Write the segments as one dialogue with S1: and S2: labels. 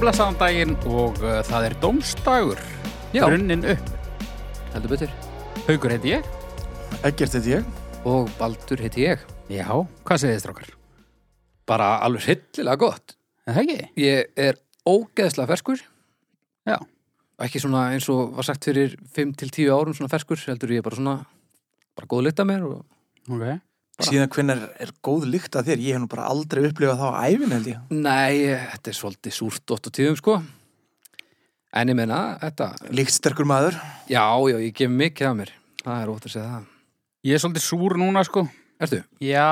S1: blessaðan daginn og uh, það er dómstagur
S2: Já.
S1: Brunnin upp
S2: heldur betur.
S1: Haukur heiti ég
S3: Ekkert heiti ég.
S2: Og Baldur heiti ég.
S1: Já, hvað segir þið strákar?
S2: Bara alveg hryllilega gott.
S1: Er það ekki?
S2: Ég er ógeðslega ferskur.
S1: Já.
S2: Ekki svona eins og var sagt fyrir 5-10 árum svona ferskur, heldur ég er bara svona, bara góð lita mér og...
S1: Ok
S2: Bara-
S3: Síðan hvenær er góð lykt að þér? Ég hef nú bara aldrei upplifað það á æfin held ég.
S2: Nei, þetta er svolítið súrt 8 tíðum sko. En ég menna, þetta,
S3: Lyktsterkur maður.
S2: já, já, ég gef mikið af mér. Það er ótt að segja það.
S1: Ég er svolítið súr núna sko
S2: Ertu?
S1: Já,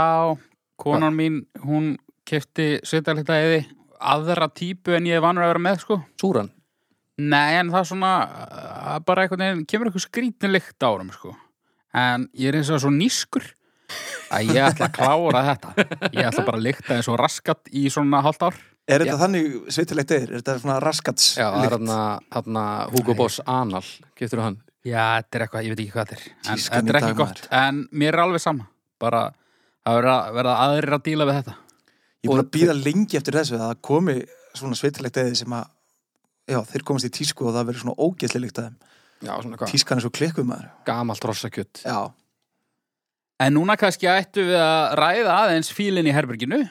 S1: konan mín, hún kefti sveitarleita eði aðra típu en ég er vanur að vera með sko
S2: Súran?
S1: Nei, en það er svona uh, bara einhvern veginn, kemur eitthvað skrítin lykt á árum sko En ég er eins og svo nýskur að ég ætla að klára þetta Ég ætla bara að lykta eins og raskat í svona hálft ár
S3: Er þetta þannig sveitilegt eðir? Er þetta svona raskats
S2: Já, það er hérna, hérna Hugo Boss Anal, getur þú hann?
S1: Já, þetta er eitthvað, ég veit ekki hvað þetta er En
S3: Tískan
S1: þetta er
S3: í
S1: ekki
S3: dag,
S1: gott, en mér er alveg sama Bara, það verða, verða aðrir að díla við þetta
S3: Ég er búin að býða lengi eftir þessu að það komi svona sveitilegt eðir sem að já, þeir komast í tísku og það verður svona ógeðslega lykt að þeim.
S2: Já, svona hvað?
S3: Tískan er svo klikkuð maður.
S2: Gamalt rossakjött.
S3: Já.
S1: En núna kannski ættu við að ræða aðeins fílinn í herberginu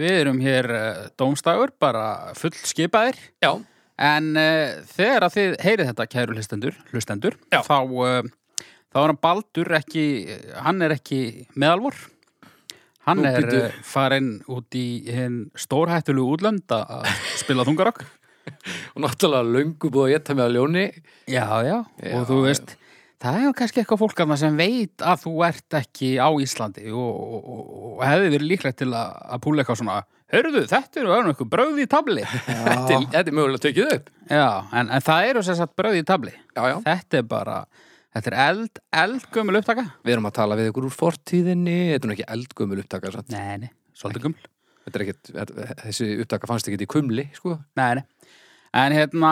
S1: Við erum hér uh, dómstagur, bara full skipaðir
S2: Já.
S1: En uh, þegar að þið heyrið þetta, kæru hlustendur, hlustendur þá, uh, þá er hann Baldur ekki, hann er ekki meðalvor. Hann
S2: Nú,
S1: er
S2: bíddu.
S1: uh, farinn út í hinn stórhættulu útlönd að spila þungarokk.
S2: Og náttúrulega löngu búið að geta mig að ljóni.
S1: Já, já,
S2: Já,
S1: og þú veist, það er nú kannski eitthvað fólk að sem veit að þú ert ekki á Íslandi og, og, og, og hefði verið líklegt til að, að púla eitthvað svona, hörðu, þetta eru öðrum eitthvað bröð í tabli.
S2: Þetta er- þetta er mögulega tekið upp.
S1: já, en, en það eru sem sagt bröð í tabli.
S2: Já, já.
S1: Þetta er bara, þetta er eld, eldgömmul upptaka.
S2: Við erum að tala við ykkur úr fortíðinni. Þetta er nú ekki eldgömmul upptaka. Satt.
S1: Nei, nei, svolítið gömmul.
S2: Þetta er ekkit, þetta- þessi upptaka fannst ekki í kumli, sko.
S1: Nei, nei. En hérna,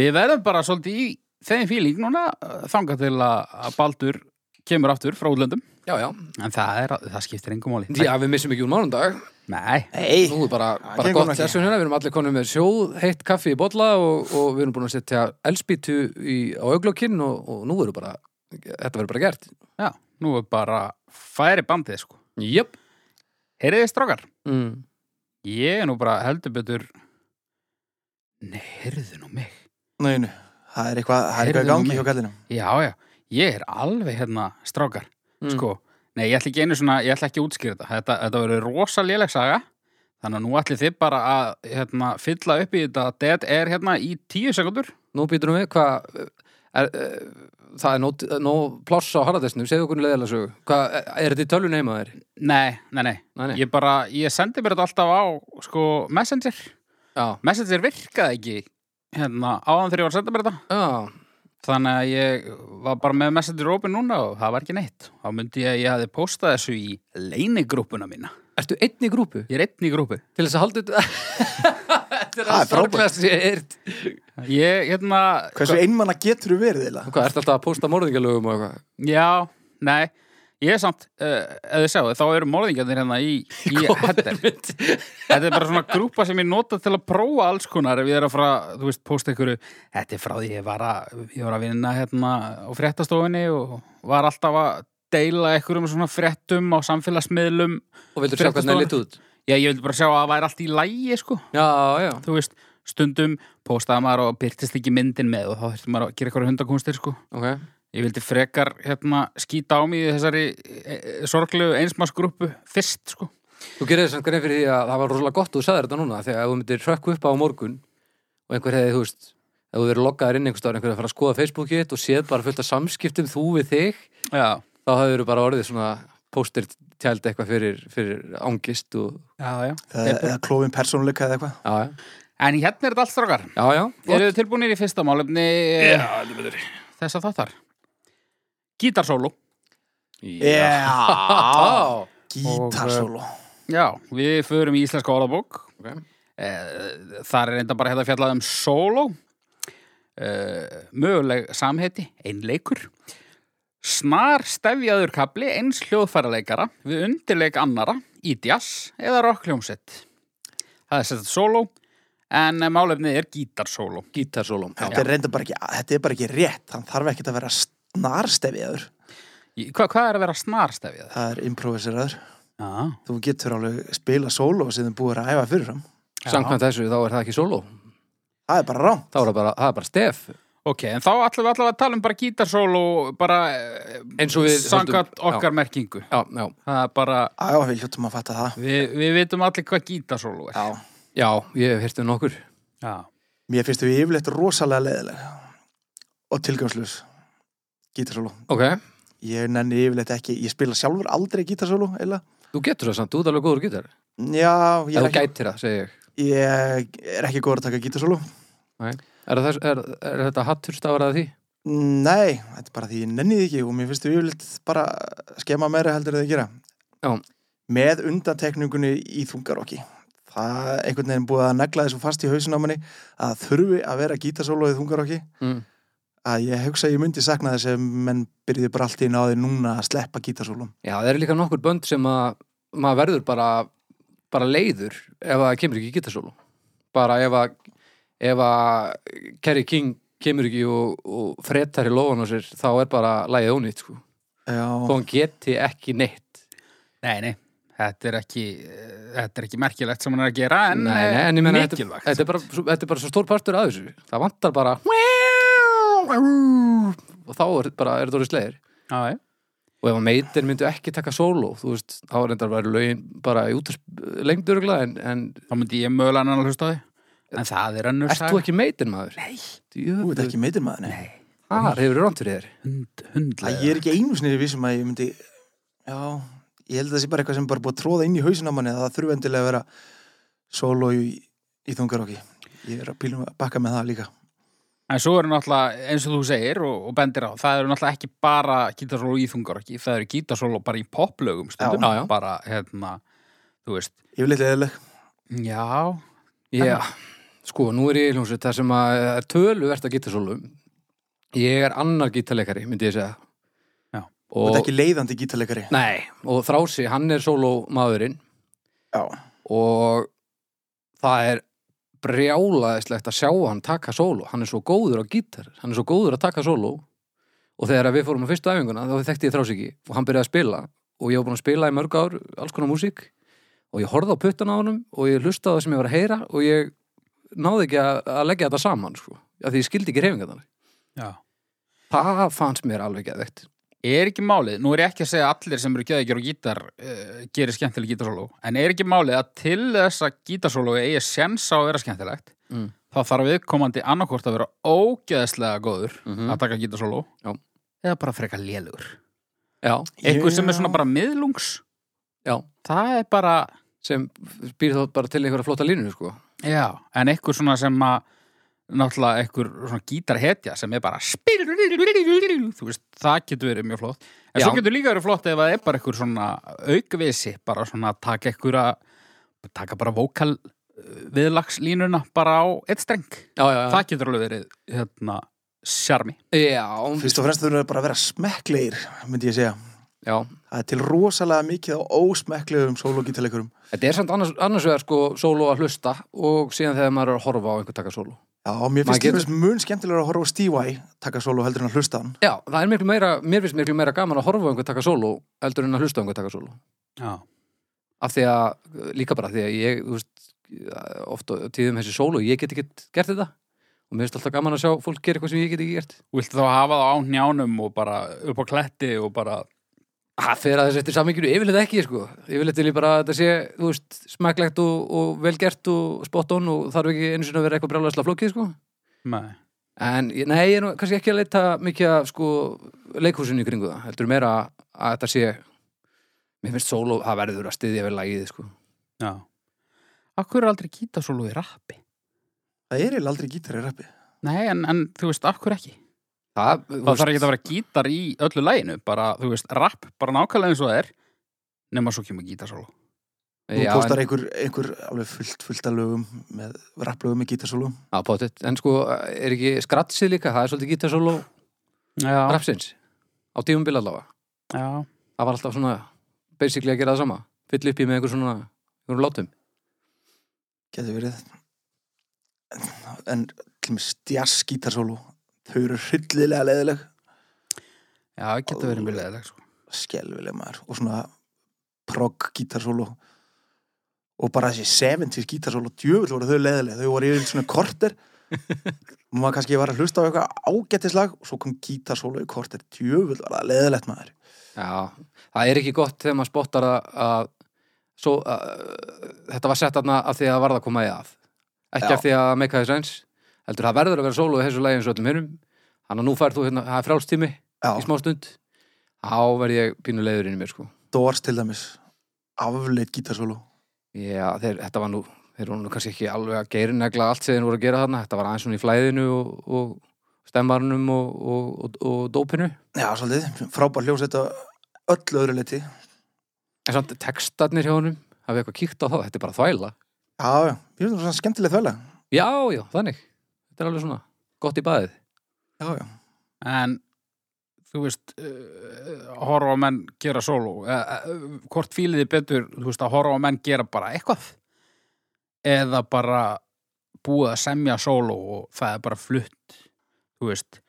S1: við verðum bara svolítið í þeim fíling núna uh, þangað til að að Baldur kemur aftur frá útlöndum.
S2: Já, já.
S1: En það, er, það skiptir engum máli.
S2: Já, við missum ekki úr mánundag.
S1: Nei,
S3: Nei.
S2: Nú er bara,
S3: Það
S2: bara
S3: gengur
S2: gott
S3: ekki.
S2: þessu hérna. Við erum allir konum með sjóð, heitt kaffi í bolla og, og við erum búin að setja elspítu í, á auglokkin og, og nú eru bara, þetta verður bara gert.
S1: já, nú er bara færi bandið, sko.
S2: Jöp.
S1: Heyriði strákar,
S2: Mm.
S1: ég er nú bara heldur betur... Nei, heyrðu nú mig.
S3: Nei, nei. Það er eitthvað, það er eitthvað í
S1: Heyrðu nú
S3: gangi
S1: mig.
S3: hjá kallinum.
S1: Já, já, ég er alveg hérna strákar.
S2: Mm.
S1: sko, nei, ég ætla ekki einu svona, ég ætla ekki að útskýra þetta, þetta, þetta verður rosa léleg saga, þannig að nú ætli þið bara að hérna, fylla upp í þetta dead air hérna í tíu sekundur.
S2: Nú býturum við, hvað er, er, það er nóg, nóg pláss á harðastinu, segðu okkur leðilega sögu hvað, er, er þetta í tölvun heima þér?
S1: Nei, nei, nei,
S2: Nei, nei.
S1: ég bara, ég sendi mér þetta alltaf á, sko, Messenger,
S2: Já,
S1: Messenger virkaði ekki, hérna, áðan þegar ég var að senda mér þetta,
S2: já,
S1: þannig að ég var bara með Messenger open núna og það var ekki neitt, þá myndi ég að ég hafi postað þessu í leinigrúpuna mína,
S2: ertu einn í grúpu
S1: ég er einn í grúpu.
S2: til þess að halda þetta Þetta er að
S3: Það er frábært.
S2: sorglegast ég eirt
S1: Ég, hérna,
S3: Hversu einmanna getur þú verið eða?
S2: Hvað, ertu alltaf að posta morðingalögum og eitthvað?
S1: Já, nei, ég er samt, uh, ef þið sjáu, þá eru morðingjarnir hérna í, í hættir. Þetta er bara svona grúpa sem ég nota til að prófa alls konar ef ég er að fara, þú veist, posta einhverju, þetta er frá því ég var að, ég var að vinna hérna á fréttastofinni og var alltaf að deila einhverjum svona fréttum á samfélagsmiðlum.
S2: Og vildur sjá hvernig það liti út?
S1: Já, ég vildi bara sjá að það væri allt í lægi, sko
S2: Já, já,
S1: þú veist, stundum postaði maður og byrtist ekki myndin með og þá þurfti maður að gera eitthvað hundakunstir sko.
S2: ok
S1: Ég vildi frekar hérna, skýta á mig í þessari e, e, sorglu einsmarsgrúppu fyrst, sko.
S2: Þú gerir þess að grein fyrir því að það var rosalega gott og þú sagðir þetta núna þegar ef þú myndir hrökk upp á morgun og einhver hefði, þú veist ef þú verið loggaðir inn einhvers staðar, einhver að fara að skoða Facebookið og séð bara fullt af samskiptum þú við þig
S1: Já,
S2: þá hafður bara orðið svona póster tjald eitthvað fyrir, fyrir angist og...
S1: já, já.
S3: Eða, eða klófin persónuleika eða eitthvað?
S2: Já,
S1: En hérna er þetta allt strákar.
S2: já, já, já.
S1: Eru þið tilbúinir í fyrsta málefni yeah. þess að þáttar? Gítarsólu.
S3: Já.
S2: Á,
S3: Gítarsólo.
S1: Já, við förum í íslenska orðabók.
S2: ok.
S1: Eh, Þar er enda bara hérna fjallað um sóló, eh, möguleg samheiti, einleikur. Snar stefjaður kapli eins hljóðfæraleikara við undirleik annara í djass eða rockljómsett. Það er sett sóló en eh, málefnið er gítarsóló
S2: Gítarsólum
S3: Þetta er reynda bara ekki, þetta er bara ekki rétt, hann þarf ekki að vera snarstefiður,
S1: Í- Hva, hvað er að vera snarstefið?
S3: það er improviseraður.
S1: Já,
S3: Þú getur alveg spila sóló sem þið búir að æfa fyrirfram.
S2: Samkvæmt þessu þá er það ekki sóló
S3: Það er bara rám.
S2: Þá er það bara, það er bara stef
S1: ok, en þá ætlum við allavega að tala um bara gítarsóló bara eh,
S2: Eins og við
S1: samkvæmt
S2: höldum-
S1: okkar merkingu
S2: Já, já,
S1: það er bara,
S3: Já, já, við hljóttum að fatta það.
S1: við, við vitum allir hvað gítarsóló er
S3: Já.
S2: já, ég hef hirtið nokkur
S1: Já.
S3: Mér finnst þau yfirleitt rosalega leiðileg og tilgangslös gítarsólu.
S2: Ok,
S3: Ég nenni yfirleitt ekki, ég spila sjálfur aldrei gítarsólu, eila.
S2: þú getur það samt, þú ert alveg góður gítar
S3: Já,
S2: Ef
S3: ég er
S2: þú
S3: ekki,
S2: gætir það, segi ég
S3: ég er ekki góður að taka gítarsólu.
S2: Er, þess, er, er þetta hattur stafar að því?
S3: Nei, þetta er bara því ég nenni því ekki og mér finnst þau yfirleitt bara skema meira heldur en þau gera.
S2: Já.
S3: Með undantekningunni í þungarokki. Það er einhvern veginn búið að negla þessu fast í hausin á manni að þurfi að vera gítarsólu í þungarokki.
S2: Mm.
S3: að ég hugsa að ég myndi sakna þess ef menn byrjuði bara allt í náði núna að sleppa gítarsólum.
S2: Já, það eru líka nokkur bönd sem að maður verður bara, bara leiður ef að það kemur ekki gítarsólu bara ef að, ef að Kerry King kemur ekki og, og fretar í lóan á sér þá er bara lægið ónýtt sko. þó
S3: Já,
S2: hann geti ekki neitt
S1: Nei, nei, þetta er ekki eh, þetta er ekki merkilegt sem hann er að gera en, eh,
S2: Nei, nei, en ég meina þetta,
S1: mikilvægt
S2: þetta, er bara, svo- þetta er bara svo stór partur að þessu það vantar bara og þá er, bara, er þetta orðið slegir
S1: Já, já.
S2: og ef að meitin myndu ekki taka sóló þú veist, þá er þetta bara lögin bara í útars lengdurugla en, en
S1: þá myndi ég mögulega annan að hlusta á því en það er önnur
S2: ert þú ekki meitin maður? Nei
S3: þú veit
S2: Djöfull,
S3: ekki meitir maður, nei.
S2: þar hefur rámt fyrir þér
S1: hund,
S3: Það
S1: hundlega
S3: ég er ekki einu sinni vissum að ég myndi, já, ég held að það sé bara eitthvað sem er bara búið að tróða inn í hausin á manni að það þurfi endilega að vera sóló í, í þungarokki. Ég er að pílum að bakka með það líka.
S1: En svo eru náttúrulega, eins og þú segir og, og bendir á, það eru náttúrulega ekki bara gítarsólu í þungarokki, það eru gítarsólu bara í poplögum stundum,
S2: Já, já.
S1: bara hérna, þú veist
S3: Yfirleitt leðileg.
S1: Já,
S2: Já, sko, nú er ég í hljómsveit þar sem að það er töluvert að gítarsólu ég er annar gítarleikari, myndi ég segja
S1: Já.
S3: Og
S2: og,
S3: þetta ekki leiðandi gítarleikari.
S2: nei, og Þrási, hann er sólómaðurinn
S3: Já.
S2: og það er brjálaðislegt að sjá hann taka sóló hann er svo góður á gítar, hann er svo góður að taka sóló og þegar að við fórum á fyrstu æfinguna þá þekkti ég þrás ekki og hann byrjaði að spila og ég var búin að spila í mörg ár alls konar músík og ég horfði á puttan á honum og ég hlustaði á það sem ég var að heyra og ég náði ekki að, að leggja þetta saman sko, af því ég skildi ekki reyfinga þannig
S1: já
S2: það fannst mér alveg geðveikt
S1: Er ekki málið, nú er ég ekki að segja að allir sem eru gæðikjör og gítar uh, gerir skemmtileg gítarsólu, en er ekki málið að til þess að gítarsólu eigi sjens á að vera skemmtilegt,
S2: Mm.
S1: þá þarf viðkomandi annarkort að vera ógeðslega góður
S2: Mhm.
S1: að taka gítarsólu
S2: Já.
S1: eða bara freka lélugur.
S2: já,
S1: Einhver sem er
S3: Já.
S1: svona bara miðlungs,
S2: já,
S1: það er bara
S2: sem býr þá bara til einhverja flotta línu sko.
S1: Já, en einhver svona sem að náttúrulega einhver svona gítarhetja sem er bara spil- þú veist, það getur verið mjög flott en svo
S2: Já.
S1: getur líka verið flott ef það er bara einhver svona aukvisi, bara svona að taka einhver að taka bara vókal eh, viðlagslínuna bara á eitt streng,
S2: já, já, já,
S1: það getur alveg verið hérna, sjarmi
S2: já,
S3: Fyrst og fremst þurfum við bara að vera smekklegir, myndi ég segja.
S2: já.
S3: Það er til rosalega mikið á ósmekklegum sóló gítarleikurum.
S2: Þetta er samt annars, annars vegar sko sóló að hlusta og síðan þegar maður er að horfa á einhver taka sóló.
S3: Já, mér
S2: Maður
S3: finnst
S2: getur-
S3: þetta mun skemmtilega að horfa á Steve Vai taka solo heldur en að hlusta á hann.
S2: Já, það er miklu meira, mér finnst miklu meira gaman að horfa á einhver taka sóló heldur en að hlusta á einhver taka sóló.
S1: Já,
S2: Af því að, líka bara af því að ég, þú veist, ofta tíðum þessi sóló, ég get ekki gert þetta og mér finnst alltaf gaman að sjá fólk gera eitthvað sem ég get ekki gert.
S1: viltu þá hafa það á njánum og bara upp á kletti og bara
S2: Það fer að þess eftir saminginu yfirleitt ekki, sko. Yfirleitt vil ég bara að þetta sé, þú veist, smæklegt og, og velgert og spot on og þarf ekki einu sinni að vera eitthvað brjálæðsla flókið, sko.
S1: með
S2: En ég- nei, ég er nú kannski ekki að leita mikið að sko leikhúsinu í kringu það. Heldur meira að þetta sé, mér finnst sóló, það verður að styðja við lagið, sko.
S1: Já Akkur er aldrei gítarsólu í rappi?
S3: Það er eiginlega aldrei gítar í rappi.
S1: Nei, en, en þú veist, akkur ekki?
S2: Það,
S1: þá þarf ekki að vera gítar í öllu læginu bara, þú veist, rapp, bara nákvæmlega eins og það er nema svo kemur gítarsólu
S3: Nú
S2: Já, en,
S3: postar einhver, einhver alveg fullt, fullt af lögum með rapplögum með gítarsólum.
S2: á, pottet, en sko, er ekki skratsið líka, það er svolítið gítarsóló
S1: já,
S2: rapsins, á tífumbil allavega.
S1: já,
S2: Það var alltaf svona, basically að gera það sama, fyll upp í með einhver svona, einhverjum látum.
S3: Getur verið. en til með stjaskítarsólu þau eru hryllilega leðileg
S1: Já, geta verið mjög leðileg sko.
S3: skelvileg maður og svona progg gítarsólu og bara þessi 70s gítarsólu djöfull voru þau leðileg, þau voru yfir svona korter og maður kannski var að hlusta á eitthvað ágættislag og svo kom gítarsólu í korter, djöfull var það leðilegt maður
S2: Já, það er ekki gott þegar maður spottar að, að, svo, að þetta var sett aðna af því að það varð að koma í að ekki
S3: Já.
S2: af því að make a sense heldur það verður að vera sólu í þessu lægi eins og öllum hinum þannig að nú færð þú hérna, það er frálstími í
S3: Já,
S2: smá stund þá verð ég pínu leiður inn í mér sko
S3: Dors til dæmis afleitt gítarsólu
S2: Já, þeir, þetta var nú, þeir voru nú kannski ekki alveg að geira negla allt sem þeir voru að gera þarna þetta var aðeins svona í flæðinu og, og stemmarnum og, og, og, og dópinu
S3: Já, svolítið, frábær hljómsveit að öllu öðru leiti
S2: en samt textarnir hjá honum hafið eitthvað kíkt á það, þetta er bara þvæla
S3: Já, já, ég finnst það svona skemmtileg þvæla
S2: Já, já, þannig. Þetta er alveg svona gott í baðið.
S3: Já, já,
S1: En þú veist uh, horfa á menn gera solo uh, uh, hvort fíliði betur þú veist að horfa á menn gera bara eitthvað eða bara búið að semja solo og það er bara flutt þú veist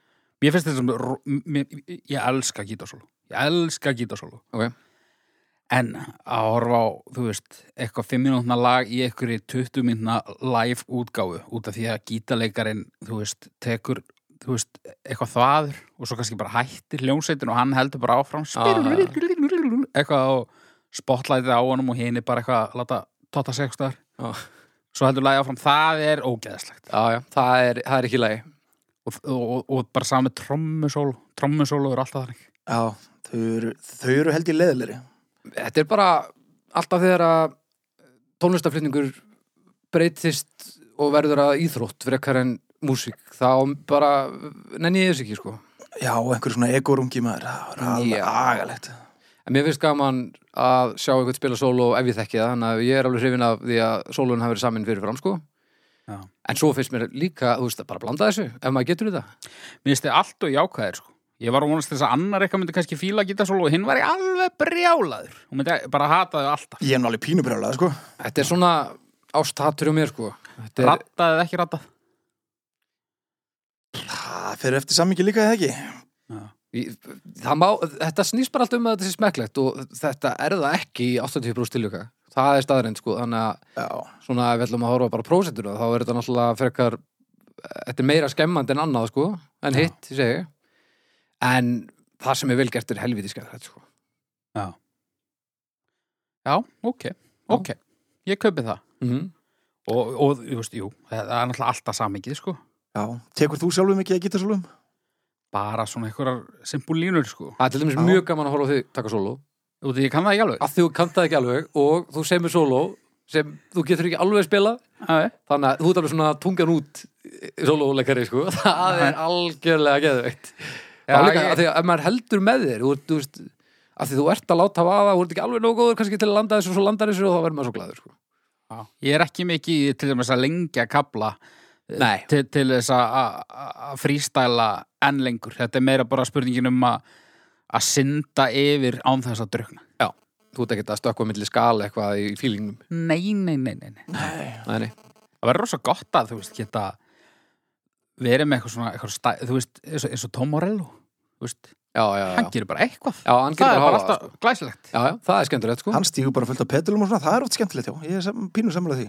S1: mér finnst þetta sem ro- mér, ég elska gítarsólu ég elska gítarsólu
S2: Ok.
S1: en að horfa á þú veist eitthvað 5 minútna lag í einhverju 20 minútna live útgáfu út af því að gítarleikarin þú veist tekur þú veist, eitthvað þvaður og svo kannski bara hættir hljómsveitin og hann heldur bara áfram eitthvað og spotlightið á honum og hinn er bara eitthvað að láta totta sig eitthvað
S2: Já.
S1: svo heldur lagið áfram, það er ógeðslegt
S2: Já, já, það er, það er ekki í lagi.
S1: og, og, og, og bara saman með trommusól trommusólu er alltaf þannig
S3: já þau, eru, þau eru held í leðilegri
S2: Þetta er bara alltaf þegar að tónlistaflutningur breytist og verður að íþrótt frekar en músík. Þá bara nenni ég þess ekki, sko.
S3: Já, og einhver svona egorungi maður Það var
S2: Já.
S3: alveg agalegt
S2: En mér finnst gaman að sjá eitthvað spila sóló ef ég þekki það, þannig að ég er alveg hrifin af því að sólóin hafi verið samin fyrir fram, sko.
S1: Já.
S2: En svo finnst mér líka, þú veist, að bara blanda þessu, ef maður getur þetta.
S1: mér finnst þið allt og jákvæðir sko ég var að vonast til þess að annar eitthvað myndi kannski fíla að geta og hinn var í alveg brjálaður og myndi bara hata þau alltaf
S3: Ég er náli pínubrjálega, sko
S2: Þetta er svona ástatur um mér, sko. Þetta er-
S1: rattað eða ekki rattað
S3: Það fer eftir sammingi líka eða ekki
S2: Í- það má, þetta snýst bara allt um að þetta sé smekklegt og þetta er það ekki í 80% tiljuka það er staðrind sko, þannig að
S3: Já,
S2: svona ef við ætlum að horfa bara prósentur þá er þetta náttúrulega frekar þetta er meira skemmandi en annað sko en
S1: Já.
S2: hitt, ég segi en það sem er vel gert er helviti skemmtilegt sko.
S1: já, ok, ok, ég kaupi það
S2: mm
S1: og, og þú veist, jú, það er náttúrulega alltaf samingið, sko
S3: já Tekur þú sjálfum ekki að geta sjálfum?
S1: bara svona einhverjar simpulínur, sko
S2: það er til dæmis
S3: Já.
S2: mjög gaman að horfa á þig taka sóló
S1: og því ég kann það ekki alveg
S2: að þú kannt það ekki alveg og þú semur sóló sem þú getur ekki alveg spilað
S1: Æ,
S2: þannig að þú ert alveg svona tungan út sólóleikari sko, það er algjörlega geðveikt
S1: Já,
S2: þá líka,
S1: ég-
S2: af því að ef maður heldur með þér þú, ert- þú veist, af því þú ert að láta vaða þú ert ekki alveg nógu góður kannski til að landa þessu og svo landar þessu og þá verður maður svo glaður sko.
S1: já. ég er ekki mikið í til þess að lengja kabla
S2: Nei,
S1: til, til þess að- að að frístæla enn lengur, þetta er meira bara spurningin um að að synda yfir án þess að drukna
S2: þú ert ekki að stökkva milli skala eitthvað í fílingnum
S1: nei, nei, nei, nei, nei
S3: Nei
S2: Nei, nei.
S1: það verður rosa gott að, þú veist, geta verið með eitthvað svona eitthvað stæ, þú veist, eins og, eins og Tom Morello þú veist,
S2: Já, já, já,
S1: hann gerir bara eitthvað
S2: já, hann
S1: það
S2: getur
S1: er
S2: bara
S1: bara
S2: hávaða,
S1: alltaf
S2: sko.
S1: glæsilegt
S2: já, já, það er skemmtilegt sko.
S3: Hann stígur bara fullt af pedalum og svona Það er oft skemmtilegt, já Ég er sam, pínu samlega því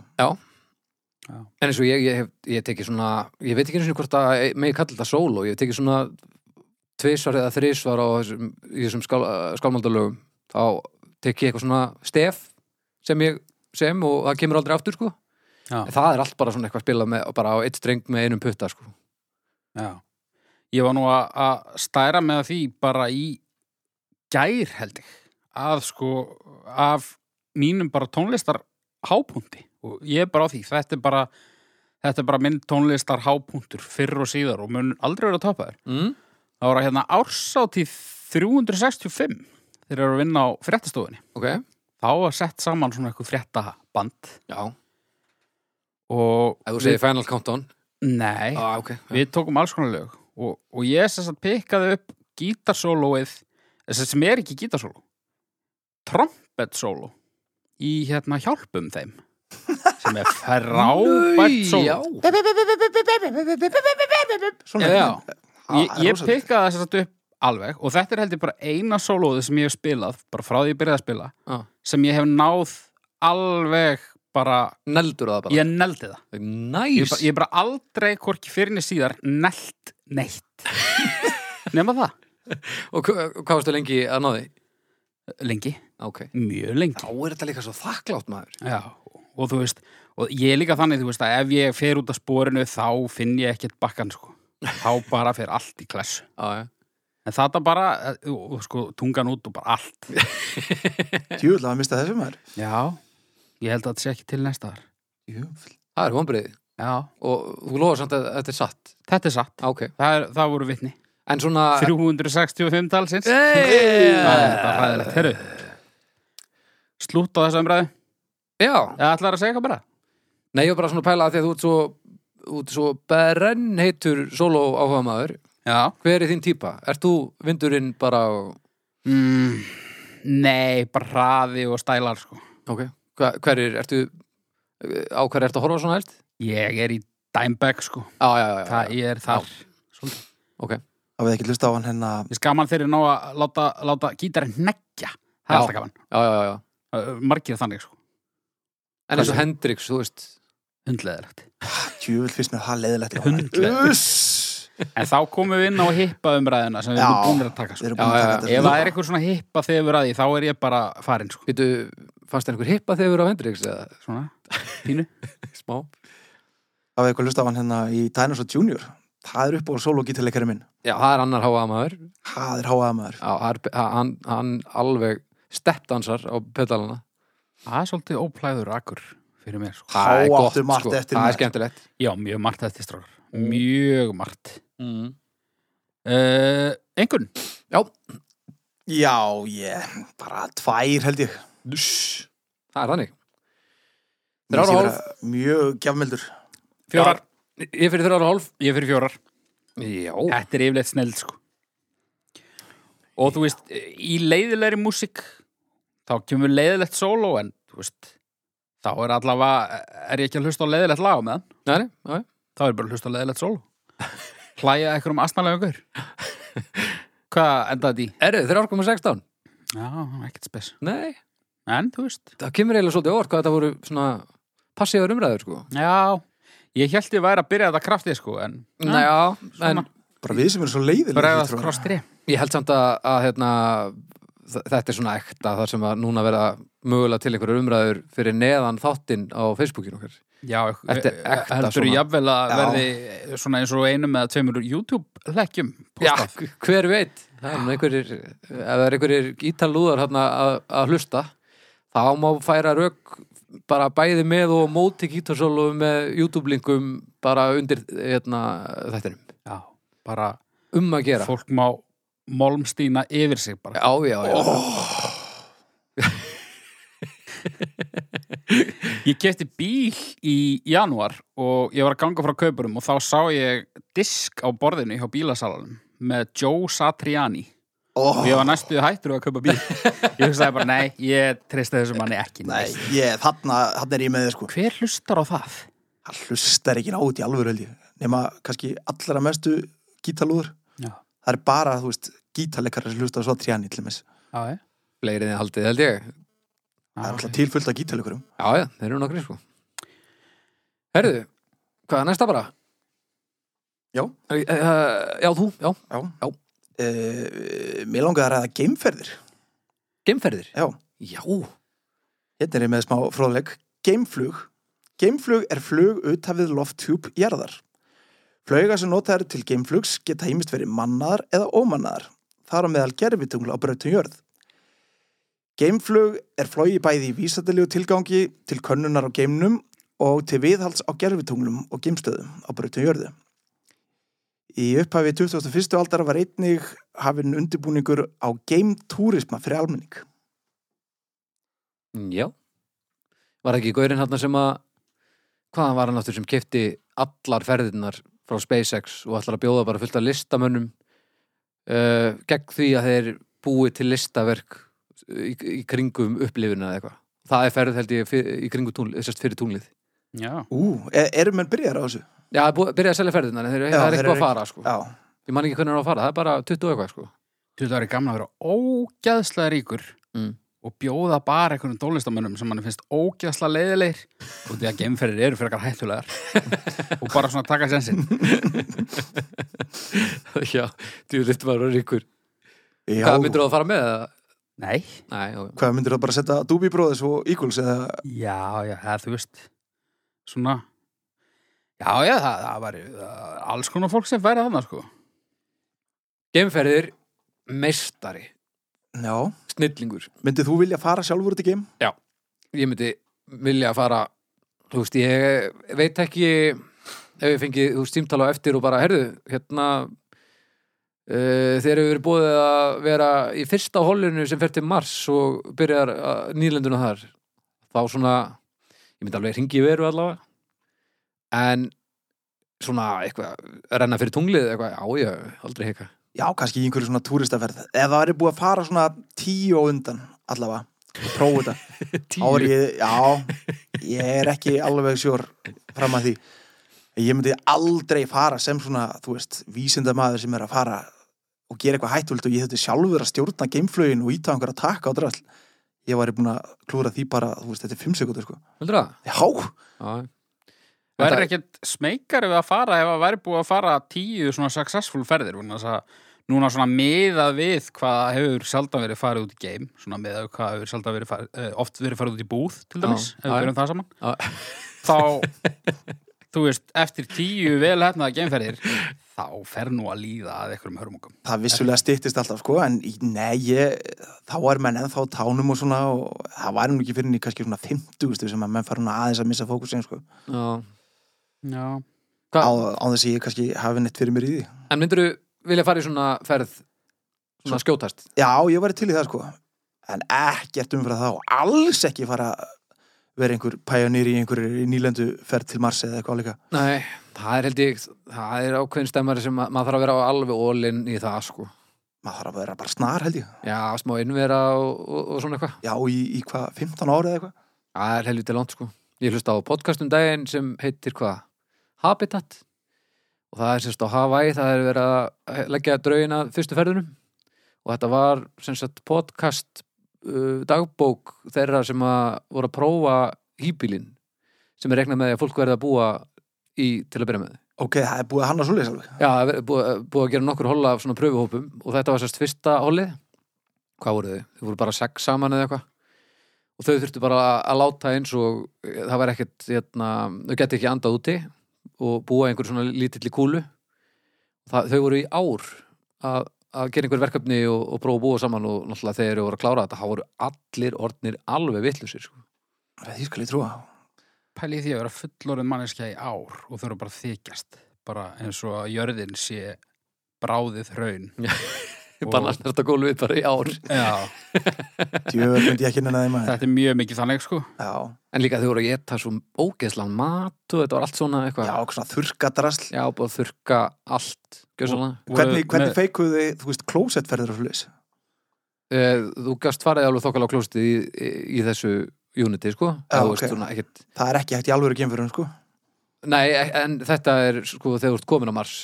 S2: En eins og ég, ég, hef, ég teki svona, ég veit ekki eins og hvort að megi kalla þetta sóló, ég hef tekið svona tvisvar eða þrisvar á þessum, í þessum skál, skálmaldalögum, þá tek ég eitthvað svona stef sem ég sem og það kemur aldrei aftur sko.
S1: Já.
S2: En það er allt bara svona eitthvað spilað með, bara á eitt streng með einum putta sko.
S1: Já. Ég var nú að- að stæra með því bara í gær held ég að sko af mínum bara tónlistar hápunkti og ég er bara á því þetta er bara, þetta er bara minn tónlistar hápunktur fyrr og síðar og mun aldrei vera að topa þér
S2: Mm?
S1: það voru hérna ársátíð 365 þeir eru að vinna á fréttastofunni
S2: Ok,
S1: þá var sett saman svona eitthvað fréttaband
S2: já.
S1: og
S2: Ef þú segir Final Countdown.
S1: nei,
S2: Já, ah, ok. Já.
S1: við tókum alls konar lög og, og ég sem sagt pikkaði upp gítarsólóið sem sem er ekki gítarsóló trompetsóló í hérna hjálpum þeim sem er frábært
S2: Nau,
S1: sól
S2: já.
S3: Svona
S1: Já, ég,
S3: Það er
S1: ég
S3: rosalegt.
S1: pikkaði þess að upp alveg og þetta er heldur bara eina sólóðu sem ég hef spilað bara frá því ég byrjaði að spila
S2: Já.
S1: sem ég hef náð alveg bara,
S2: Neldur það bara
S1: ég neldi það ég,
S2: Næs
S1: bara- ég bara aldrei hvorki fyrirni síðar nelt neitt nema það,
S2: Og hva- hvað varstu lengi að náði?
S1: lengi,
S2: Ok
S1: mjög lengi
S2: Þá er þetta líka svo þakklátt maður
S1: Já, og þú veist og ég er líka þannig, þú veist, að ef ég fer út af spórinu þá finn ég ekkert bakkan sko. þá bara fer allt í klessu
S2: Ah, Já, já
S1: en þetta bara, eh, og, og, sko, tungan út og bara allt
S3: Djúðlega að mista þessu maður
S1: Já, ég held að þetta sé ekki til næsta þar
S3: Jöfull.
S2: Það er vonbreið
S1: Já,
S2: Og þú lofa samt að þetta er satt
S1: þetta er satt
S2: Ok
S1: Það, er, það voru vitni.
S2: En svona
S1: 365 talsins. Það er þetta
S2: Hey!
S1: ræðilegt. Herru, slútt á þessu umræðu.
S2: Já
S1: Það ætlar að segja eitthvað bara.
S2: Nei, ég var bara svona að pæla að því að þú ert svo Þú ert svo berenn heitur sóló áhuga maður
S1: Já.
S2: Hver er þín típa? Ert þú vindurinn bara á-
S1: Mm, nei, bara hraði og stælar, sko.
S2: Ok Hva, Hver er, ertu Á hver ertu að horfa svona held?
S1: Ég er í dæmbæk, sko.
S2: Já, já, já, já,
S1: Það, ég er þar. Svolítið.
S2: Ok
S3: Það við ekki hlusta á hann hérna
S1: Ég skaman þeirri ná að láta, láta gítarinn neggja. Það er
S2: Já.
S1: alltaf gaman.
S2: Já, já, já
S1: Ö, Margir þannig, sko.
S2: En eins og Hendrix, þú veist
S1: Hundleðilegt.
S3: Djúvill fyrst mér það leðilegt
S1: Hundleðilegt.
S3: Uss.
S1: En þá komum við inn á hippaumræðina sem við
S3: Já.
S1: erum búinir að taka, sko.
S3: Við erum
S2: Já,
S3: búin að
S2: já,
S3: taka
S2: já.
S3: þetta
S1: Ef það er einhver svona hippa þegar við ræði, þá er ég bara farin, sko.
S2: Býtu, fannst þér einhver hippa þegar þú eru á Hendrix eða
S1: Svona, pínu.
S2: smá?
S3: Það við ekki hlusta á hann hérna í Dinosaur Junior Það er upp á sólogítarleikari minn
S2: Já, það er annar háaða maður.
S3: Það er háaða maður
S2: Já, það er- hann, hann alveg steppdansar á pedalana.
S1: Það er svolítið óplæður akkur fyrir mér, sko.
S2: Það er
S3: Þá
S2: gott,
S3: áttu margt
S2: sko.
S3: eftir
S2: Það
S3: mér.
S2: er skemmtilegt.
S1: Já, mjög margt eftir strókar. Mjög margt.
S2: Mm.
S1: Uh, einhvern?
S2: Já,
S3: Já, ég, bara tvær held ég
S2: Duss. það er þannig.
S3: Mér
S2: Þrjár og
S3: sé
S2: hálf.
S3: vera Mjög gjafmildur
S1: Fjórar.
S2: Ég fyrir þrjára og hálf.
S1: Ég fyrir fjórar.
S2: Já.
S1: Þetta er yfirleitt sneld, sko. Og þú veist, í leiðilegri músík, þá kemur leiðilegt sóló, en þú veist, þá er allavega, er ég ekki að hlusta á leiðilegt lag á meðan?
S2: Nei, nei, nei.
S1: þá er bara að hlusta á leðilegt sól hlæja eitthvað um astnalega ykkur hvað endaði því?
S2: Erðu, þrjár komið 16?
S1: Já, ekkert spes
S2: Nei.
S1: en þú veist,
S2: Það kemur eiginlega svolítið óvart hvað þetta voru svona passíðar umræður, sko.
S1: já ég held ég væri að byrja þetta kraftið sko en
S2: Nei, já, en
S3: Bara við sem erum svo leiðilegir
S1: bregðast
S3: ég trúi.
S1: krostri
S2: Ég held samt að, að hérna, þ- þetta er svona ekta þar sem að núna verða mögulega til einhverjar umræður fyrir neðan þáttinn á Facebookinu okkar.
S1: já, e-
S2: Þetta er ekta
S1: heldur
S2: svona.
S1: jafnvel að
S3: Já.
S1: verði svona eins og einum eða tveimur YouTube-leggjum postað.
S2: Hver- Hver veit? Það er nú einhverjir, ef það er einhverjir ítalúðar hérna að, að hlusta, þá má færa rauk bara bæði með og móti gítarsólu með YouTube-linkum bara undir hérna, þættinum.
S1: já, bara
S2: Um að gera.
S1: fólk má molmstína yfir sig bara
S2: Já, já, já.
S1: Ég kefti bíl í janúar og ég var að ganga frá kaupurum og þá sá ég disk á borðinu hjá bílasalanum með Joe Satriani
S3: Ó,
S1: og ég var næstuði hættur að kaupa bíl ég hugsaði bara, nei, ég treysti þessum manni ekki
S3: Nei, ég, þarna, þarna er ég með þér sko
S1: Hver hlustar á það?
S3: Það hlustar ekki nátt í alvöru held ég Nema kannski allra mestu gítalúður
S1: Já,
S3: Það er bara, þú veist, gítarleikarar sem hlusta á svo tríani til þess
S1: já, ég
S2: Fleiri þið haldið held ég.
S1: Ah,
S3: Það er alltaf tilfullt af gítarleikurum
S2: Já, já, þeir eru nokkri sko Herðu, hvað er næsta bara?
S3: Já.
S2: uh, Já, þú, já,
S3: Já,
S2: Já.
S3: Eh, Mér langaði að ræða geimferðir
S2: geimferðir
S3: Já,
S2: Já,
S3: hérna er ég með smá fróðleik Geimflug Geimflug er flug uthafið lofthjúp jarðar Flauga sem notaðar til geimflugs geta heimist verið mannaðar eða ómannaðar þar á meðal gerfitungl á brautum jörð Geimflug er flogi bæði í vísatiligu tilgangi til könnunar á geimnum og til viðhalds á gerfitunglum og geimstöðum á brautum jörðu Í upphafi 21. aldar var einnig hafinn undirbúningur á geimtúrisma fyrir almenning
S2: Mm, já Var ekki gaurinn hann sem að hvaðan var hann aftur sem kefti allar ferðirnar frá SpaceX og ætlar að bjóða bara fullt af listamönnum uh, gegn því að þeir búi til listaverk uh, í, í kringum upplifuna eða eitthvað Það er ferð held ég fyr, í kringum túnlið, sérst fyrir túnlið
S1: já,
S3: Ú, er, erum menn byrjar á þessu?
S2: Já, það er búið- byrjaði að selja ferðina en þeir,
S3: Já,
S2: það er
S3: þeir
S2: eitthvað
S3: eru
S2: að fara sko.
S3: Já,
S2: Ég man ekki hvernig það er að fara, það er bara 20 og eitthvað sko.
S1: þú það er gaman að vera ógæðslega ríkur
S2: Mm.
S1: og bjóða bara einhvern tónlistamönnum sem mann finnst ógæðslega leiðilegir og því að geimferðir eru fyrir eitthvað hættulegar og bara svona taka sensin
S2: Já, þú vilt maður ríkur
S3: já
S2: Hvað myndir þú að fara með það?
S1: Nei,
S2: Nei, ok.
S3: Hvað myndir þú bara setja Doobie Brothers og Eagles eða
S1: já, já, það þú veist svona já, já, það, það var alls konar fólk sem færi þarna sko
S2: Geimferðir, meistari,
S3: Já,
S2: snillingur
S3: myndir þú vilja fara sjálfur út í game?
S2: Ég myndi vilja fara Þú veist, ég veit ekki ef ég fengi, þú veist, tímtala á eftir og bara, herðu, hérna uh, þeir eru verið búið að vera í fyrsta hollinu sem fer til Mars og byrjar að- nýlenduna þar þá svona ég myndi alveg hringi í veru allavega en svona eitthvað, renna fyrir tunglið eitthvað, já, já, aldrei heika
S3: Já, kannski í einhverju svona túristaferð Ef það er búið að fara svona tíu á undan allavega og prófa þetta Þá er ég, já, ég er ekki alveg sjór fram að því Ég myndi aldrei fara sem svona, þú veist, vísindamaður sem er að fara og gera eitthvað hættult og ég þurfti sjálfur að stjórna geimflögin og íta einhverja takka á drall Ég væri búin að klúra því bara, þú veist, þetta er fimm sekundur, sko
S2: Heldur það?
S3: Já,
S2: Já,
S1: Verður
S2: Þetta-
S1: ekkert smeikari við að fara ef að væri búið að fara tíu svona successful ferðir vegna þess að núna svona miðað við hvað hefur sjaldan verið farið út í game svona miðað við hvað hefur sjaldan verið farið eh, oft verið farið út í búð til dæmis
S2: Já,
S1: ef við
S2: já.
S1: verðum það saman
S2: Já.
S1: þá, þú veist, eftir tíu vel hefnaða gameferðir þá fer nú að líða að einhverjum hörmungum
S3: það vissulega styttist alltaf, sko en í- nei, ég, þá er menn ennþá á tánum og svona og það væri nú ekki fyrir henni kannski svona 50 sem að menn fara svona aðeins að missa fókusin, sko
S2: já
S1: Já,
S3: á,
S2: Hva,
S3: á þess að ég kannski hafi neitt fyrir mér í því
S2: En myndirðu vilja fara í svona ferð svona skjótast?
S3: Já, ég væri til í það sko En ekkert umfra þá, alls ekki fara að vera einhver pæjanýr í einhverju nýlendu ferð til Mars eða eitthvað líka
S2: Nei, það er held ég það er ákveðin stemmari sem að, maður þarf að vera á alveg ólinn í það sko
S3: Maður þarf að vera bara snar held ég
S2: Já, smá innvera og, og, og svona eitthvað
S3: Já, í, í hvað, 15 ára eða eitthvað
S2: Það er helviti langt sko Ég hlusta á podcast um daginn sem heitir hvað? Habitat og það er semst á Hawaii, það er verið að leggja draugina fyrstu ferðunum og þetta var semst podcast uh, dagbók þeirra sem að voru að prófa hýbílinn sem er reiknað með því að fólk verði að búa í til að byrja með
S3: Ok, það er búið að hanna svoleiðis alveg
S2: Já, það er búið, búið að gera nokkur holla af svona pröfuhópum og þetta var sérst fyrsta hollið. Hvað voru þau? Þau voru bara sex saman eða eitthvað. Og þau þurftu bara að láta eins og eh, það var ekkert, hérna, þau geti ekki andað úti og búa einhver svona lítilli kúlu. Það, þau voru í ár að, að gera einhver verkefni og, og prófa að búa saman og náttúrulega þegar þau voru að klára þetta, þá voru allir orðnir alveg vitlusir, sko.
S3: Því skal ég trúa
S1: pæli í því að vera fullorðin manneskja í ár og þurfa bara að þykjast bara eins og að jörðin sé bráðið hraun Og-
S2: Bara að snerta gólfið bara í ár.
S1: Já,
S3: Djöfur myndi ég ekki nenni að því maður
S1: þetta er mjög mikið þannig sko
S3: Já,
S2: En líka þau voru að geta svo ógeðslan mat og þetta var allt svona eitthvað.
S3: já, svona þurrkadrasl
S2: Já, búið að þurrka allt Gjössalega
S3: Hvernig,
S1: Voru
S3: hvernig
S1: með-
S3: feikuðu þið, þú veist, klósettferðir og svoleiðis?
S2: Eh, Þú gast faraði alveg þokkala á klóstið í, í, í þessu uniti, sko Eða þú
S3: Já, Ah, ok.
S2: veist, svona, ekkit...
S3: Það er ekki hægt í alvöru geimfyrum, sko
S2: Nei, e- en þetta er sko þegar þú ert komin á Mars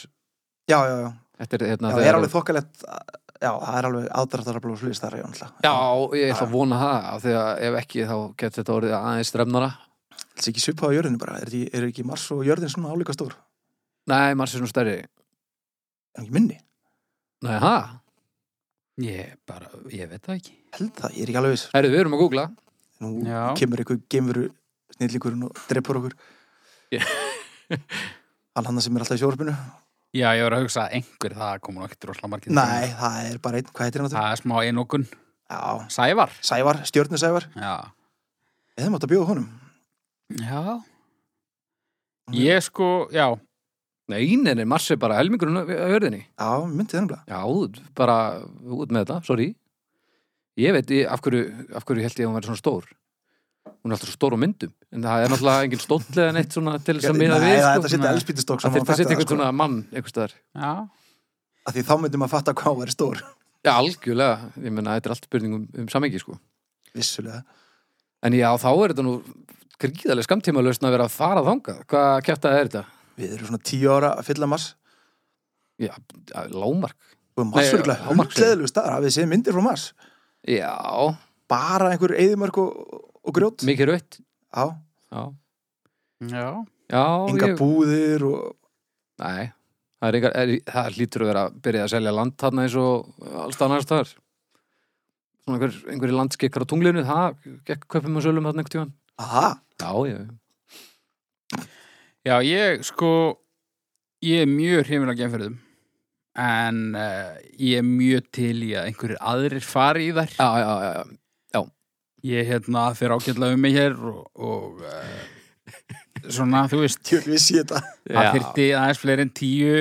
S3: Já, já, já,
S2: Þetta er, hérna,
S3: já það er alveg þokkalegt Já, það er alveg aðdráttarabla og svoleiðis þar, já, náttúrulega.
S2: Já, ég ætla
S3: Já.
S2: að vona það af því að ef ekki þá getur þetta orðið aðeins stremnara
S3: Þetta er ekki svipað á jörðinu bara, er, ekki- er ekki Mars og jörðin svona álíka stór?
S2: Nei, Mars er svona stærri
S3: Er hann ekki minni?
S2: Nei, ha?
S1: Ég bara, ég veit það ekki
S3: Held það, ég er ekki alveg viss.
S2: Herðu, við erum að googla
S3: Nú
S1: Já.
S3: kemur einhver geimveru snillingurinn og dreipur okkur.
S2: Já.
S3: Hann hann sem er alltaf í sjórfinu.
S1: Já, ég var að hugsa að einhver það kom nú ekkert rosalega margir
S3: Nei, það er bara einn, hvað heitir hann þetta?
S1: Það er smá einokun
S3: Já,
S1: Sævar
S3: Sævar, stjörnusævar.
S1: Já,
S3: Eða mátt að bjóða honum.
S1: já. Ég sko, já
S2: Nei, nei, nei, Mars er bara helmingurinn á á jörðinni
S3: Já, myndið þennum blað.
S2: Já, út- bara út með þetta, sorry Ég veit, ég, af, hverju, af hverju held ég að hún væri svona stór Hún er alltaf svo stór á myndum En það er náttúrulega engin stóll eða neitt svona til þess að miða við
S3: það er
S2: sko,
S3: þetta setja
S1: svona-
S3: elspítistokk
S2: Það
S3: sem
S2: þurfti að setja einhvern
S3: sko.
S2: svona mann einhvers staðar
S1: Já,
S3: Af Því þá myndum að fatta hvað hann er stór.
S2: Já, algjörlega, ég meina, þetta er allt spurning um, um samengi sko
S3: Vissulega.
S2: En já, þá er þetta nú gríðarlega skamtímalösn að vera að fara þangað hvað kjartaði er þetta?
S3: Við erum svona tíu ára að fylla mass
S2: Já, að- lágmark
S3: og mass
S2: Nei,
S3: er
S2: á- á
S3: ekki
S2: Mars,
S3: hundleðilegu staðar hafið þið séð myndir frá mass
S2: Já,
S3: bara einhver eðimörk og, og grjót
S2: mikið raut
S3: Já,
S2: Já,
S1: Já.
S2: já
S3: enga
S2: ég-
S3: búðir og
S2: Nei, það, er engar, er, það lítur að vera að byrja að selja land þarna eins og alls annars þar svona einhver, einhverju landskekkar á tunglinu það gekk kaupum og sölum þarna einhvern tímann
S3: aha,
S2: Já, ég,
S1: Já, ég sko ég er mjög hrifin á genferðum en uh, ég er mjög til í að einhverjir aðrir fari í þær
S2: já, já, já, já.
S1: ég hérna fyrir ágætlega um mig hér og, og uh, svona, þú veist
S3: tjöld við sé þetta
S1: það
S2: Já.
S1: þyrfti aðeins fleiri en tíu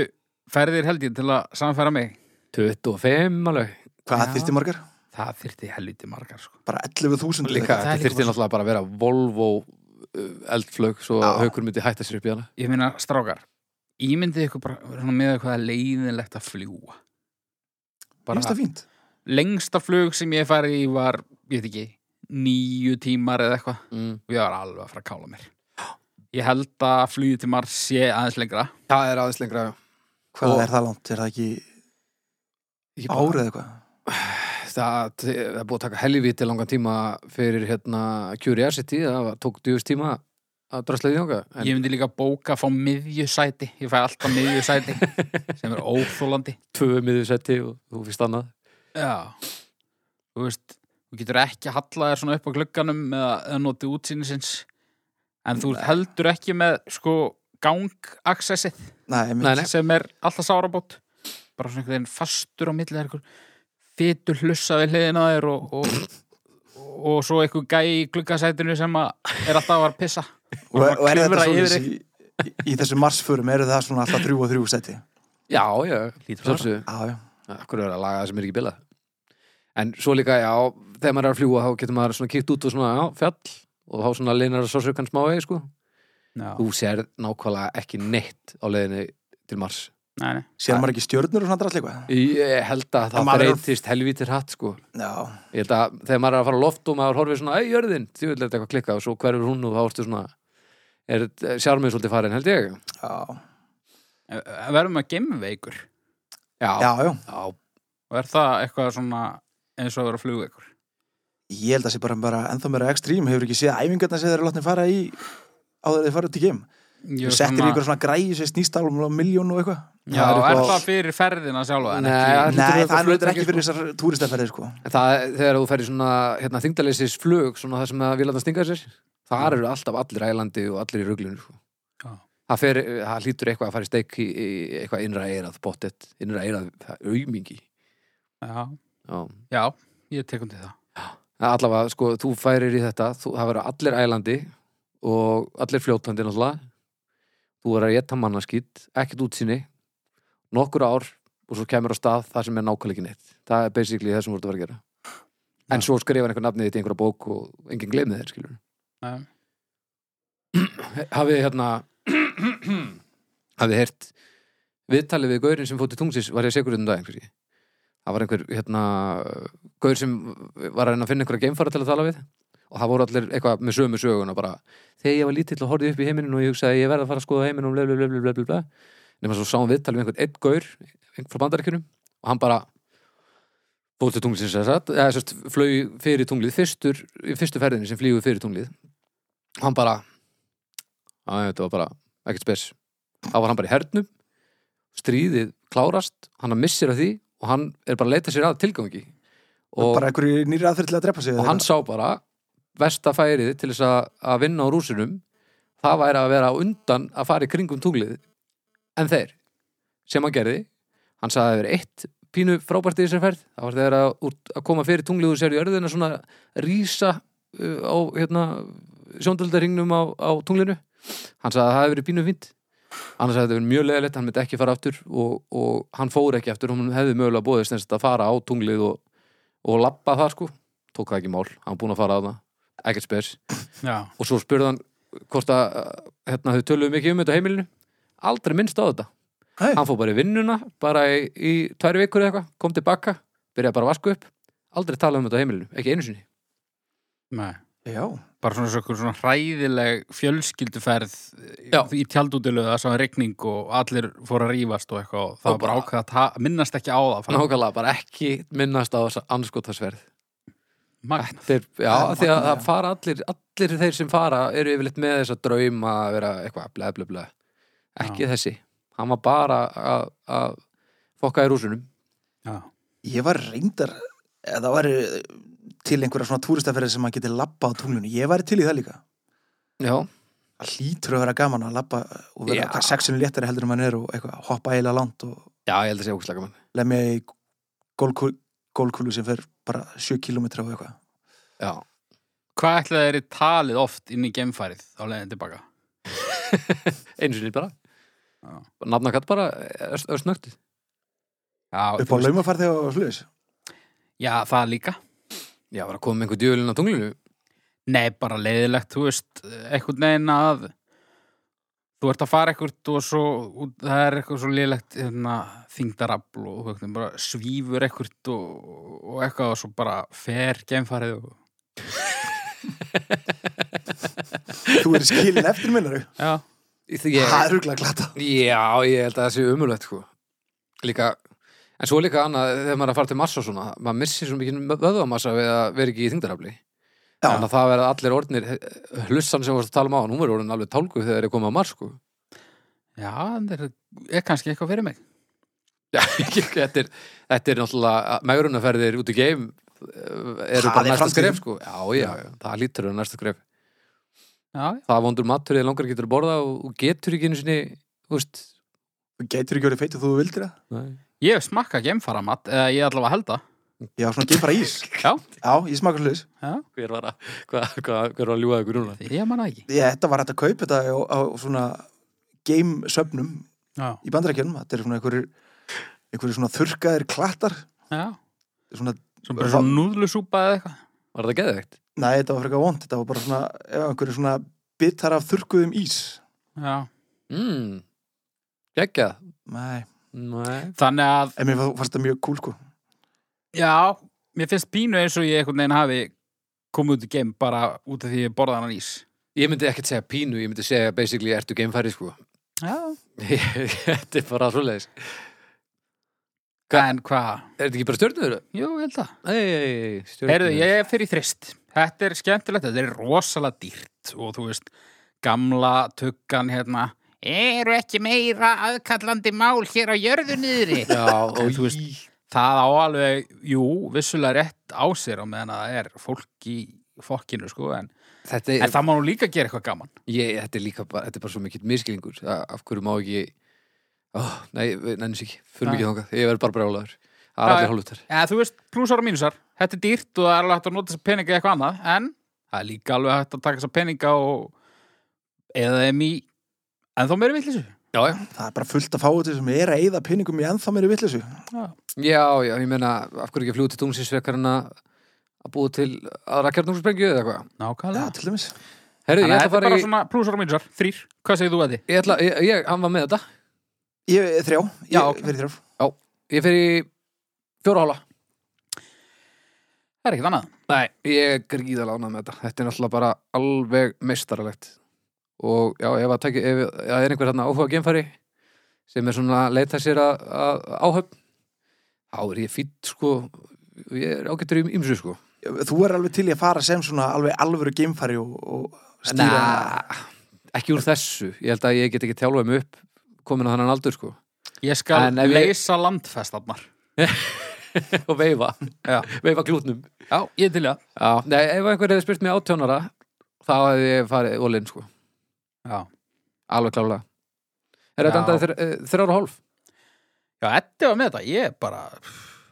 S1: ferðir held ég til að samfæra mig
S2: 25 alveg
S3: Hvað
S1: Já.
S3: þyrfti margar?
S1: það þyrfti helviti margar sko.
S3: Bara 11.000 eða
S1: það er
S2: Líka,
S3: eitthvað.
S2: þetta
S1: líka
S2: þyrfti
S1: bara-
S2: náttúrulega bara að vera Volvo uh, eldflög svo
S3: Já.
S2: að haukur myndi hætta sér upp í hana
S1: ég meina strákar ímyndið ykkur bara svona, með eitthvað leiðinlegt að fljúa
S3: Mér finnst
S1: bara
S3: það fínt
S1: lengsta flug sem ég farið í var ég veit ekki, níu tímar eða eitthvað
S2: mm.
S1: og ég var alveg að fara að kála mér ég held að flugið til Mars sé aðeins lengra
S2: Það er aðeins lengra
S3: Hvað
S2: Og-
S3: er það langt? Er það ekki
S2: Ég bara-
S3: árið eða eitthvað?
S2: það, það er búið að taka helvíti langan tíma fyrir hérna Curiosity, það var- tók djúst tíma að drasla í þjóka en
S1: ég myndi líka bóka að fá miðjusæti ég fæ alltaf miðjusæti sem er óþólandi
S2: tvö miðursætti og þú fyrst annað
S1: Já Þú veist, þú getur ekki að halla þér svona upp á glugganum eða, eða notið útsýnisins en þú heldur ekki með sko gangaksessið
S3: Nei, ég
S2: Nei,
S3: mynd
S2: nei.
S1: sem er alltaf sárabót bara svona einhvern veginn fastur á milli það er einhver fytur hlussa við hliðina á þér og, og, og, og svo einhver gæ í gluggasætinu sem að er alltaf að pissa
S3: Og,
S1: bara
S3: og er þetta
S1: klifra
S3: svona
S1: yfir
S3: í, í, í þessu marsförum eru það svona alltaf þrjú og þrjú seti?
S2: Já, já,
S1: Hlýtur að
S2: sjálfsög
S3: Já, já.
S2: Akkur er að laga það sem er ekki bilað En svo líka, já, þegar maður er að fljúga þá getur maður svona kýtt út og svona, já, fjall og þá svona leinar að sásaukan smá vegi, sko
S1: Já,
S2: Þú sér nákvæmlega ekki neitt á leiðinni til Mars
S1: nei, nei.
S3: Sér maður ekki stjörnur og svona drall eitthvað?
S2: Ég held að
S3: En
S2: það
S3: maður er-
S2: breytist helvítir hatt, sko
S3: Já,
S2: Ég held að þegar maður er að fara á loft og maður horfir svona, ei, jörðin, því vil þetta eitthvað klikka og svo hverfur hún og þá ertu svona er sjármið svolítið farin, held ég
S3: já,
S1: En- en verðum að gemma veikur
S2: Já,
S3: já, já.
S2: já,
S1: og er það eitthvað svona eins og að vera flugveikur
S3: Ég held að sé bara, bara ennþá meira ekstrím, hefur ekki séð æfingarna sem þeir eru látni fara í áður en þeir fara út í geim.
S1: Ég
S3: Þú
S1: var
S3: settir í
S1: svona-
S3: ykkur svona græði sem snýst álum á miljón og eitthvað.
S1: Já,
S2: Það er
S1: er
S2: eitthvað-
S1: það fyrir ferðina sjálfa en
S2: Nei,
S1: ekki-
S2: Það hlýtur að vera
S3: Nei, það er
S2: flutningi,
S3: náttúrulega ekki fyrir þessar túristaferðir sko.
S2: En það, þegar þú ferð í svona hérna, þingdalysis flug, svona það sem að vilja að stinga sér, þar eru alltaf allir ælandi og allir í ruglunum. Sko.
S1: Já.
S2: Það, fer, það hlýtur eitthvað að fara í steik í, í eitthvað innra eirað, bóttett, innra eirað, það er aumingi.
S1: Já,
S2: Já.
S1: já, ég tekum til það
S2: Það er Allavega, sko, þú færir í þetta, þú, það verður allir ælandi og allir fljótandi náttúrulega. Þú verður að geta mannaskýtt, ekkert útsýni, nokkur ár og svo kemur á stað það sem er nákvæmlega ekki neitt. Það er basically það sem voru að vera að gera. En svo skrifa einhver nafnið þitt í einhverja bók og enginn gleymið þér, skilur.
S1: Nei.
S2: Hafið þið hérna hafið þið heyrt viðtalið við gaurin sem fótt í tungsins var ég segur um dag einhverji. Það var einhver hérna gaur sem var að reyna að finna einhverja geimfara til að tala við og það voru allir eitthvað með sömu söguna bara þegar ég var lítill og horfði upp í heiminin og ég hugsaði ég verði að fara að skoða heiminin og blablabla nema svo sáum viðtalið við um einhvern einn gaur einhvern frá bandaríkjunum og hann bara fór til tunglsins eða satt, eða sérst flög fyrir tunglið fyrstur, í fyrstu ferðinni sem flýgur fyrir tunglið og hann bara að þetta var bara ekkert spes þá var hann bara í hernum stríðið klárast, hann missir af því og hann er bara að leita sér að tilgangi
S3: Og bara einhverju nýri aðferð til að drepa sig.
S2: og hann sá bara versta færið til þess að, að vinna á rúsinum það væri að vera á undan að fara í kringum tunglið en þeir sem hann gerði hann sagði að það verið eitt pínu frábært í þessari ferð það var þegar að, úr, að koma fyrir tunglið og sér í örðina svona rísa uh, á hérna, sjóndöldarhingnum á, á tunglinu hann sagði að það hefði verið pínu fínt annars hefði þetta verið mjög leðilegt, hann myndi ekki fara aftur og, og hann fór ekki aftur, hún hefði mögulega bóðist eins og þetta fara á tunglið og, og labba það sko tók það ekki í mál, hann var búinn að fara að það ekkert spes,
S1: Já,
S2: og svo spurði hann hvort að uh, hérna, þau töluðu mikið um þetta á heimilinu aldrei minnst á þetta
S3: Nei.
S2: hann fór bara í vinnuna, bara í, í tvær vikur eða eitthvað, kom tilbaka, byrjaði bara að vaska upp aldrei tala um þetta á heimilinu, ekki einu sinni
S1: nei
S3: Já,
S1: bara svona, svona, svona hræðileg fjölskylduferð eh,
S2: Já.
S1: í tjaldútilu það sá regning og allir fóru að rífast og eitthvað og það var
S2: Og
S1: bara
S2: bara-
S1: ákveð að ta- minnast ekki á það fara-
S2: Nákvæmlega, bara ekki minnast á þessa anskotasverð
S1: Magn.
S2: Þeir, já,
S3: Það er
S2: því að
S3: magnað,
S2: það
S3: já.
S2: fara allir, allir þeir sem fara eru yfirleitt með þess að drauma að vera eitthvað blei, blei, blei. Ekki þessi. Hann var bara að- að fokka í rúsunum.
S1: Já.
S3: ég var reyndar eða það væri til einhverja svona túristaferðir sem maður geti labba á tunglinu ég væri til í það líka
S2: Já,
S3: það hlýtur að vera gaman að labba og vera
S2: Já.
S3: hvað sexinu léttari heldur en mann er og eitthvað, hoppa eiginlega langt og
S2: já ég held að segja ógustlega gaman.
S3: lemja í gólkúlu sem fer bara 7 km og eitthvað
S2: Já.
S1: Hvað ætlaði þeirri talið oft inn í gemfarið á leiðin tilbaka?
S2: Einu sinni bara.
S1: Já.
S2: Nafna katt bara er, er snögt.
S1: Já,
S3: upp á
S1: þú veist-
S3: laumafarði og sluðis
S1: já, það líka.
S2: Já, var að koma með einhver djöfulinn á tunglinu.
S1: Nei, bara leiðilegt, þú veist, einhvern veginn að þú ert að fara eitthvað og svo, og það er eitthvað svo leiðilegt hérna, þingdarafl og þú veist, bara svífur eitthvað og, og eitthvað og svo bara fer gemfarið og
S3: þú er skilin eftir minnaru
S1: já,
S2: Ég,
S3: það er huglega glata
S2: já, ég held að það sé umulvegt, sko. Líka, en svo líka annað, þegar maður er að fara til massa og svona, maður missir svo mikið vöðvamassa við að vera ekki í þingdarafli. Þannig
S3: já,
S2: að það verða allir orðnir hlussan sem við varst að tala um á, hún verður orðin alveg tálku þegar þeir eru komið á mars sko.
S1: já, það er, er kannski eitthvað fyrir mig.
S2: Já, þetta er, þetta er náttúrulega megrunarferðir út í geim eh, eru
S3: Það
S2: bara
S3: er
S2: næsta
S3: framtíðin.
S2: skref sko. Já, já, já, það lítur að vera næsta skref.
S1: Já,
S2: Það er vondur matur eða langar getur að borða og, og getur ekki einu sinni, þú veist,
S3: þú getur ekki verið feit og þú vildir það
S1: ég hef smakkað gemfaramatt, eða ég allavega held það.
S3: já, svona geimfara ís
S1: Já,
S3: já, ég smakar sluðis
S1: já,
S2: hver var að, hva, hva, hver var að ljúga ykkur núna?
S1: ég manna ekki.
S3: þetta var hægt að kaupa þetta á, á svona geimsöfnum
S1: Já,
S3: í bandarækjunum þetta er svona einhverjir einhverjir svona þurrkaðir klattar
S1: já,
S3: svona,
S1: svo bara svona núðlusúpa eða eitthvað.
S2: Var þetta geðveikt?
S3: nei, þetta var frekar vond þetta var bara svona, já, einhverjir svona bitar af þurrkuðum ís
S1: Já.
S2: Mm, geggjað.
S3: nei,
S2: Nei.
S1: Þannig að
S3: en mér fa- fannst það mjög cool sko
S1: Já, mér finnst pínu eins og ég einhvern veginn hafi komið út í geim bara út af því ég borða hann ís.
S2: Ég myndi ekkert segja pínu, ég myndi segja basically ertu geimfæri sko.
S1: Já.
S2: þetta er bara svoleiðis.
S1: En hvað?
S2: Er þetta ekki bara stjörnur?
S1: Jú, ég held það.
S2: Ei, ei, ei, stjörnur.
S1: Heyrðu, ég er fyrir þrist. Þetta er skemmtilegt, þetta er rosalega dýrt og þú veist, gamla tuggan hérna, eru ekki meira aðkallandi mál hér á jörðu niðri.
S2: Já, og
S1: þú veist, það á alveg, jú, vissulega rétt á sér á meðan að það er fólk í fokkinu, sko, en,
S2: þetta
S1: en
S2: er,
S1: það má nú líka gera eitthvað gaman.
S2: ég, þetta er líka bara, þetta er bara svo mikill miskilingur, af hverju má ekki, oh, nei, nennis ekki, fyrir
S1: Nei.
S2: mikið þangað, ég verð bara brjálaður, það
S1: Já,
S2: er
S1: já.
S2: allir hálfutar.
S1: Já, þú veist, plusar og mínusar. Þetta er dýrt og það er alveg hægt að nota þessa peninga í eitthvað annað, en það er líka alveg hægt að taka þessa peninga og eða þeim í en þó meiri villisu.
S2: Já, já,
S3: það er bara fullt að fá þetta sem er að eyða peningum í ennþá meiri vitleysu
S2: já, já, ég meina, af hverju ekki fljóti tómsins frekar en að að búa til aðra kjarnungsprengju eða eitthvað.
S3: já,
S1: Nákvæmlega.
S3: til dæmis
S2: Herru,
S1: Þannig að
S2: ég ætla að
S1: þetta er
S2: fara
S1: bara
S2: í,
S1: svona plusar og mínusar, þrýr. Hvað segir þú að þið?
S2: ég ætla, ég, ég, hann var með þetta,
S3: ég, þrjá, ég
S1: Já, ok.
S3: fyrir þrjá
S2: ég fer í fjóra ála.
S1: Það er ekkert annað.
S2: Nei, ég er gríðalega ánað með þetta. Þetta er náttúrulega bara alveg meistaralegt. Og já, ef að tæki, ef ef það er einhver þarna áhuga genfari sem er svona að leita sér að, að áhöfn, þá er ég fýtt sko, ég er ágættur í ymsu sko.
S3: þú er alveg til í að fara sem svona alveg alvöru geimfari og, og stýra
S2: Nei, ah, ekki úr þessu. Ég held að ég get ekki tjálfað mig upp komin á þannan aldur sko.
S1: Ég skal
S2: En ef ég-
S1: leysa landfestarnar.
S2: og veifa,
S1: Já.
S2: veifa klútnum.
S1: Já, ég er til í það.
S2: Já, nei, ef einhver hefði spurt mig átjónara, þá hefði ég farið ólinn sko.
S1: Já.
S2: Alveg klálega. Er þetta
S1: Já.
S2: endaði þr- eh, þrjára og hálf?
S1: Já, Eddi var með þetta. Ég er bara,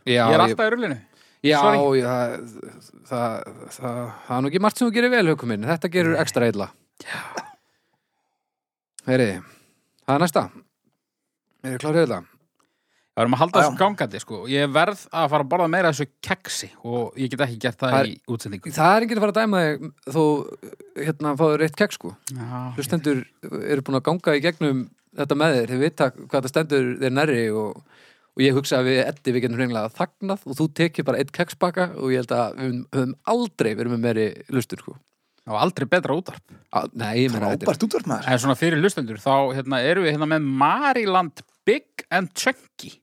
S2: Já,
S1: ég er alltaf í rullinu.
S2: Já,
S1: Sorry.
S2: já það, það, það, það er nú ekki margt sem þú gerir vel, haukum minn. Þetta gerur ekstra eilla. Heyri, það er næsta. Er þið klárið þetta?
S1: Það erum að halda
S3: Já.
S1: þessu gangandi, sko. Ég verð að fara að borða meira af þessu keksi og ég get ekki gert það,
S2: Það er-
S1: í útsendingu.
S2: Það er enginn að fara að dæma þig þó hérna fáður eitt kekk sko.
S1: Já,
S2: Hlustendur eru búin að ganga í gegnum þetta með þér. Þeir vita hvað það stendur þér nærri og, og ég hugsa að við eddi við getum hreinlega þagnað og þú tekir bara eitt keksbaka og ég held að við höfum aldrei verið með meiri lustur sko.
S1: Það var aldrei betra útarp.
S2: Á, nei, ég meina þetta er-
S3: Frábært útvarp maður.
S1: En svona fyrir lustendur, þá hérna, erum við hérna með Mariland Big and Chunky.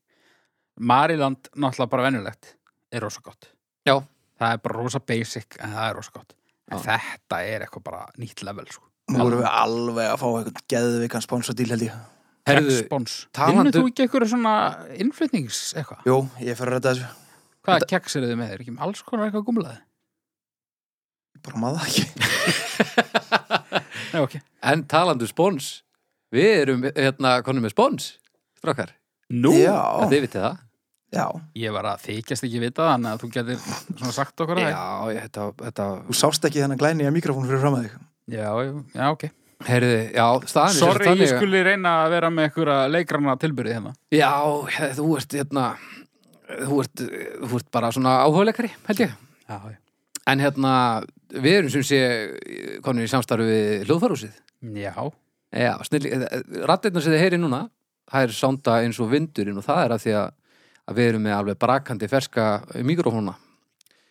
S1: Mariland, náttúrulega bara venjulegt, er rosa gott.
S2: Já.
S1: Það er bara rosa basic, en það er rosa gott. En
S2: Já.
S1: þetta er eitthvað bara nýtt level, sko.
S3: Nú erum við alveg að fá eitthvað geðvikan sponsadíl held ég.
S2: Herðu,
S1: Kekspons.
S2: talandi-
S1: Vinnur þú ekki eitthvað svona innflytnings eitthvað?
S3: Jú, ég fer að redda þessu.
S1: Hvaða keks eru þið með? Er ekki með alls konar eitthvað gumlaði?
S3: Bara maður það ekki.
S1: Nei, ok.
S2: en talandu spons Við erum, hérna, konum með spons Strákar,
S1: Nú?
S2: að
S3: Já,
S2: þið vitið það
S3: já.
S1: Ég var að þykjast ekki vita það, þannig að þú getur svona sagt okkur það.
S2: Já, ég- þetta, þetta
S3: Þú sást ekki þennan glæni að mikrofónu fyrir fram að þig.
S1: Já, já, já, ok.
S2: Herðu, já, staðan er sem sagt
S1: Sorry, ég
S2: þannig að-
S1: skulle reyna að vera með einhverja leikrana tilbyrði hérna.
S2: Já, þú ert, hérna Þú ert, þú ert bara svona áhugalegari, held ég
S1: Já, já.
S2: En hérna, við erum sem sé konur í samstarfi við hljóðfarúsið.
S1: Já,
S2: Já, snilli, rattirna sem þið heyri núna, það er sonda eins og vindurinn og það er að því að, að við erum með alveg brakandi ferska mikrofóna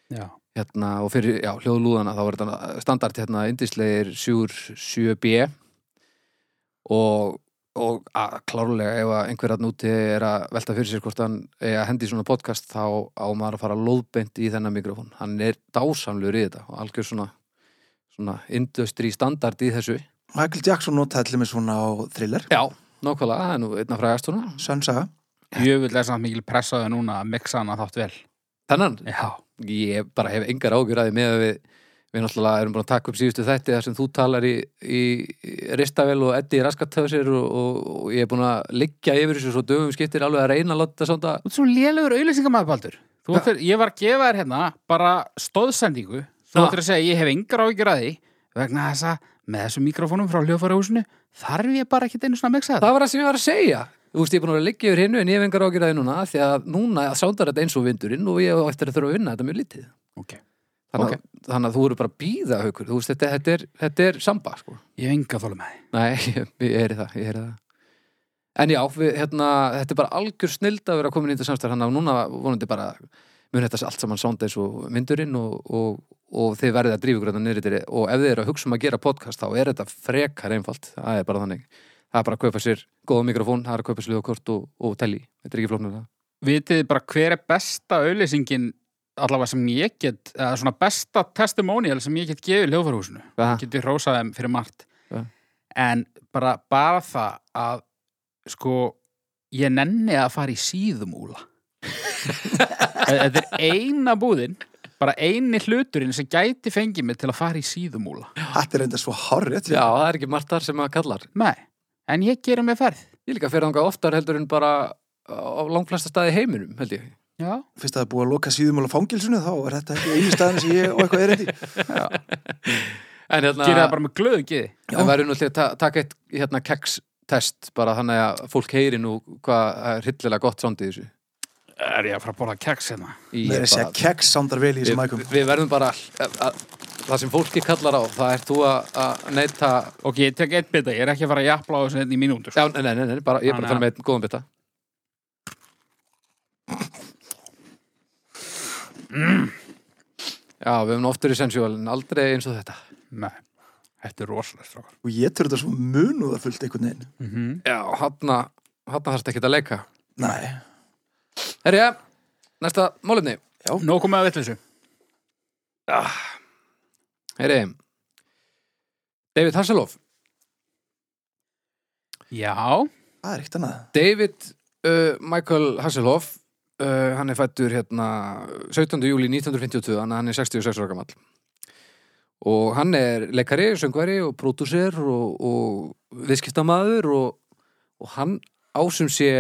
S1: já.
S2: hérna og fyrir, já, hljóðlúðana þá er þetta standart hérna indislegir 7B og, og að, klárlega ef að einhver hann úti er að velta fyrir sér hvort hann er að hendi í svona podcast þá á maður að fara lóðbeint í þennan mikrofón hann er dásamlur í þetta og algjör svona, svona industry standard í þessu
S3: Michael Jackson notaði allir með svona á thriller.
S2: já, nákvæmlega, það er nú einna frægast svona
S3: Sönsaga.
S1: Ég vil lesa mikil pressaði núna að mixa hana þátt vel.
S2: þennan,
S1: Já.
S2: ég bara hef engar ágjur að því með að við við náttúrulega erum búin að taka upp síðustu þætti þar sem þú talar í, í í Ristavel og Eddi í raskatöfsir og, og, og ég er búin að liggja yfir þessu svo dögum skiptir alveg að reyna að láta þetta svona
S1: Þú ert svo lélegur auðlýsingamæður, Baldur. Þú
S2: Já.
S1: ættir, ég var að gefa þér hérna bara stóðsendingu. Þú
S2: Já.
S1: ættir að segja, ég hef engar áhyggjur að því vegna þess að með þessum mikrofónum frá hljófarhúsinu þarf ég bara ekki einu svona að mixa þetta.
S2: það var það sem ég var að segja Þú veist, ég er búin að vera að liggja yfir hinnu en ég hef engar ágjur að því núna af því að núna sándar þetta eins og vindurinn og ég á eftir að þurfa að vinna þetta mjög lítið
S1: Ok.
S2: þannig, að, þannig að þú eru bara að býða haukur, þú veist, þetta, þetta, er, þetta er samba sko.
S1: Ég hef enga þólu með því.
S2: Nei, ég, ég heyri það, ég heyri það. En já, við, hérna, þetta er bara algjör snild að vera komin í þetta samstarf hann að núna vonandi bara mun þetta allt saman sonda eins og myndurinn og, og, og þið verðið að drífa grönda niður yfir og ef þið eru að hugsa um að gera podcast þá er þetta frekar einfalt, það er bara þannig. Það er bara að kaupa sér góða mikrofón, það er að kaupa sér ljóðkort og, og telji, þetta er ekki flóknum það.
S1: vitið þið bara hver er besta auðlýsingin allavega sem ég get eða svona besta testimonial sem ég get gefið hljófarhúsinu,
S2: Hvað?
S1: getið rósað þeim fyrir margt
S2: Ja.
S1: en bara, bara það að sko ég nenni að fara í síðumúla þetta er eina búðin bara eini hluturinn sem gæti fengið mig til að fara í síðumúla
S3: Þetta er enda svo horrið.
S2: Já, það er ekki margt þar sem að kallar.
S1: nei, en ég gerir mig ferð
S2: Ég líka fyrir þangað oftar heldur en bara á langflesta staði í heiminum, held ég.
S1: já,
S3: Fyrst að það er búið að loka síðumála fangilsinu þá er þetta ekki einu staðin sem ég og eitthvað er endi.
S2: En hérna...
S1: gerir það bara með glöðu geði
S3: Já.
S2: Það verður nú til að ta- taka eitt hérna kekstest bara þannig að fólk heyri nú hvað það er hryllilega gott sondi í þessu.
S1: er ég að fara að borða keks hérna
S2: Ég
S3: Mér er að segja
S2: bara-
S3: keks samdar vel í þessum mækum.
S2: Við, við verðum bara að, að, það sem fólki kallar á, það ert þú að, að neyta
S1: ok, ég tek eitt bita, ég er ekki að fara að japla á þessu hérna í mínúndur
S2: Já, nei, nei, nei, nei bara, ég er bara að fara með einn góðan bita Mm. Já, við höfum oftur í sensual en aldrei eins og þetta
S1: Nei, þetta er rosalegt strákar.
S3: Og ég tör þetta svo munúðarfullt einhvern veginn.
S1: Mm
S2: Já, hann að þarst ekki að leika
S3: Nei.
S2: Herja, næsta málumni
S1: Nó komið að vitleysu.
S2: Heyri, David Hasselhoff
S1: Já,
S3: Það er eitt annað.
S2: David uh, Michael Hasselhoff uh, hann er fættur hérna 17. júli 1952 þannig að hann er 66 ára gamall og hann er leikari, söngvari og pródúser og, og viðskiptamaður og, og hann ásum sé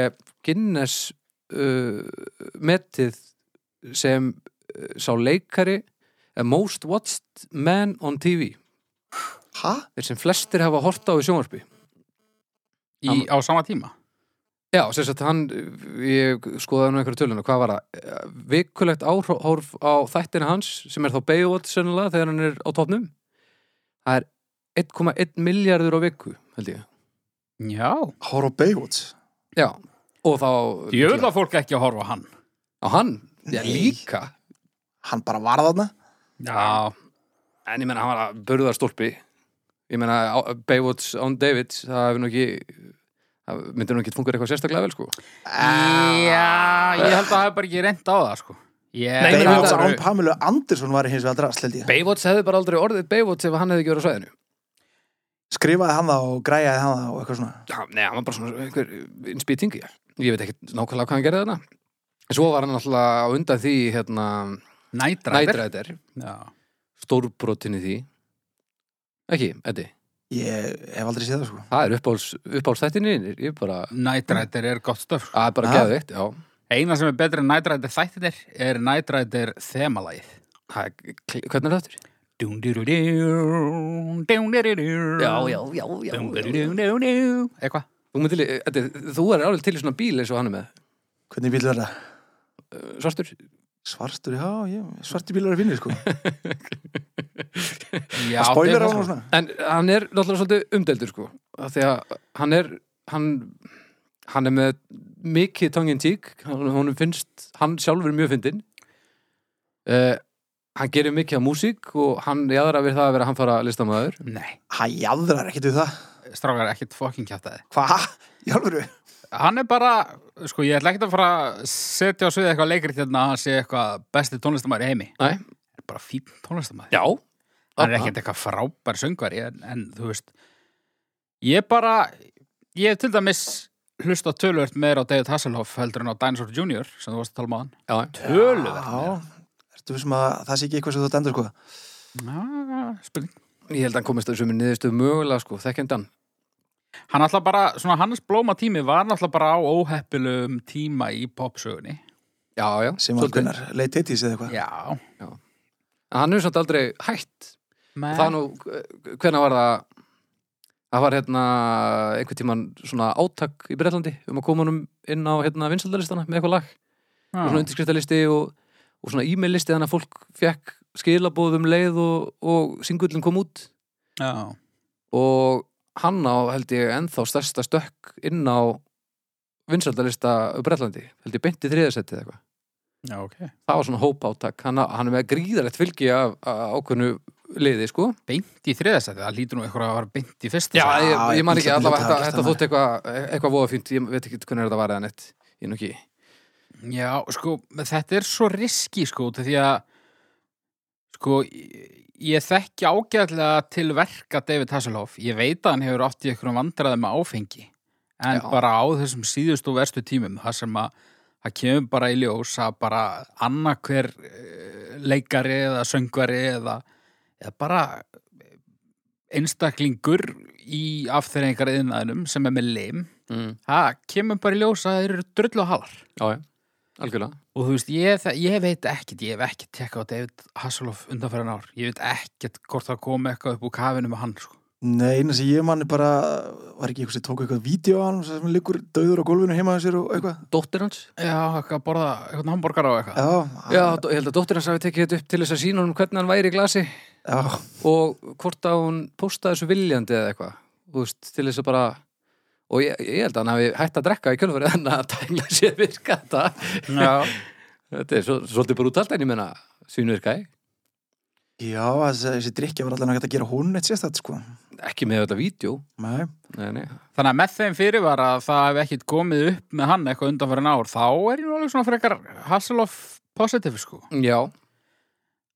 S2: Guinness uh, metið sem uh, sá leikari eh, most watched man on TV
S3: Hæ?
S2: þeir sem flestir hafa hort á í sjónvarpi
S1: í, á sama tíma.
S2: Já, sem sagt hann, ég skoðaði nú einhverju töluna, hvað var það? Eh, Vikulegt áhorf á þættina hans sem er þá Baywatch sennilega þegar hann er á topnum Það er 1,1 miljardur á viku, held ég
S1: Já.
S3: Horror Baywatch.
S2: Já, og þá
S1: Ég vil að fólk ekki að horfa á hann.
S2: Á hann, já
S3: Nei.
S2: líka
S3: Hann bara varð þarna.
S1: Já.
S2: en ég meina hann var að burðarstólpi ég meina á- Baywatch on Davids það hefur nú ekki það myndir nú ekki fungur eitthvað sérstaklega vel sko
S1: Já, ég held að það hef bara ekki reynd á það, sko. Ég,
S2: Nei,
S1: það
S3: Baywatch
S2: þetta-
S1: var-
S3: án Pamela Anderson var hins vegar drast, held ég.
S2: Baywatch hefði bara aldrei orðið Baywatch ef hann hefði ekki verið á svæðinu
S3: Skrifaði hann það og græjaði hann það og eitthvað svona.
S2: Já, nei, hann var bara svona einhver innspýtingi ég veit ekki nákvæmlega hvað hann gerði þarna en svo var hann alltaf á undan því hérna,
S1: Night Rider.
S2: nætræðir
S1: Já.
S2: stórbrotinni því ekki, Eddi,
S3: Ég hef aldrei séð það, sko.
S2: það er uppáls uppálstættinni, ég bara
S1: Night Rider er gott stöf. sko.
S2: það er bara
S3: Ha?
S2: geðveikt, já
S1: Eina sem er betur en Night Rider þættinir er Night Rider þemalægið.
S2: Ha, kl- hvernig er það aftur?
S1: Dún-dýrú-dún, dún-dýrú-dún.
S2: já, já,
S1: Dún-dýrú-dún-dún. Eitthvað.
S2: Þú, myndir, li- Eddi, þú er alveg til í svona bíl eins og hann er með
S3: Hvernig bíl er það?
S2: Uh, svartur
S3: Svartur, já, ég, svartur bíl er að finna, sko.
S1: Já,
S3: Það
S1: þetta
S3: spoiler á
S1: er
S3: hann
S1: svona.
S3: og svona.
S2: en hann er náttúrulega svolítið umdeldur sko af því að hann er hann, hann er með mikið tongin tík, honum finnst hann sjálfur mjög fyndinn uh, hann gerir mikið af músík og hann jaðrar við það að vera hann fara listamaður
S1: Nei,
S3: Hann jæðrar ekkert við það.
S1: strákar, ekkert fucking kjátaði.
S3: Hva? Jálfur,
S1: Hann er bara, sko, ég ætla ekkert að fara að setja á sviðið eitthvað leikrit hérna að hann sé eitthvað besti tónlistamæður í heimi.
S2: Nei,
S1: Er bara fín tónlistamæður.
S2: já
S1: hann
S2: Ah,
S1: er ekkert eitthvað frábær söngvari en, en þú veist ég bara, ég hef til dæmis hlusta tölvört meira á David Hasselhoff heldur en á Dinosaur Jr. sem þú varst að tala um á hann
S2: ah, Já,
S1: tölvört
S3: Já, ertu vissum að það sé ekki eitthvað sem þú dendur sko
S1: spurning
S2: ég held að hann komist að þessu með niðurstu mögulega sko, þekkjandi hann
S1: hann alltaf bara, svona hans blóma tími var alltaf bara á óheppilum tíma í popsögunni
S2: Já, já,
S3: sem að hvernar, leit tittis eða eitthvað
S1: já,
S2: En hann er samt aldrei hætt
S1: menn
S2: Það er nú, hvernig var það það var hérna einhvern tíman svona átak í Bretlandi um að koma honum inn á hérna vinsaldalistana með eitthvað lag, og
S1: Ah.
S2: svona undirskriftalisti og, og svona e-mail-listi þannig að fólk fekk skilabóð um leið og, og singullin kom út
S1: já,
S2: og hann á held ég ennþá stærsta stökk inn á vinsaldalista á Bretlandi, held ég beinti þriðasetti eða eitthvað
S1: já, ok
S2: það var svona hóp átak, hann, á- hann er með gríðarlegt fylgi af, af ákveðnu liði sko
S1: beint í þriðasæti, það lítur nú eitthvað að vera beint í fyrsta
S2: Já,
S1: sæti.
S2: ég, ég man ekki
S3: illa
S2: allavega
S3: hlutað
S2: þetta,
S3: gert
S2: þetta
S3: þarna.
S2: þótt eitthvað eitthvað voða fínt, ég veit ekki hvernig þetta var eða neitt ég er nú ekki,
S1: Já, sko, þetta er svo riski, sko, út af því að, sko, ég- ég þekki ágæðlega til verka David Hasselhoff. Ég veit að hann hefur átt í einhverjum vandræðum með áfengi, en
S2: Já.
S1: bara á þessum síðustu og verstu tímum, það sem að það kemur bara í ljós að bara annarkver eh, leikari eða söngvari eða, eða bara einstaklingur í afþreyingar yðnaðinum sem er með leim,
S2: mm.
S1: það kemur bara í ljós að þeir eru drullu og halar.
S2: já, já, algjörlega
S1: Og þú veist, ég, þa- ég veit ekkert, ég hef ekkert tekka á David Hasselhoff undanfæran ár. Ég veit ekkert hvort það kom eitthvað upp úr kafinu með hann, sko.
S3: Nei, eina sem ég mann er bara var ekki eitthvað sem tók eitthvað vídeo á hann sem liggur döður á gólfinu heima á sér og eitthvað
S2: Dóttir hans?
S1: Já, eitthvað að borða, eitthvað hambúrgar á eitthvað.
S3: Já,
S2: Já, dó- ég held að dóttir hans hafi tekið þetta upp til þess að sína hún hvernig hann væri í glasi
S3: já,
S2: og hvort að hún postaði þessu viljandi eða eitthvað, þú veist, til þess að bara og ég, ég held að hann hafi hætt að drekka í kjölfarið hann að tækla sér virka þetta
S1: Já.
S2: þetta er svo, svolítið brútalt en ég menna svinvirka,
S3: já þessi, þessi drikkja var allan að geta að gera hún eitt sérstætt sko
S2: ekki með þetta vídeo
S3: Nei,
S2: nei, nei,
S1: Þannig að með þeim fyrirvara að það hef ekkert komið upp með hann eitthvað undanfæran ár, þá er ég nú alveg svona frekar Hasselhoff positive, sko.
S2: já,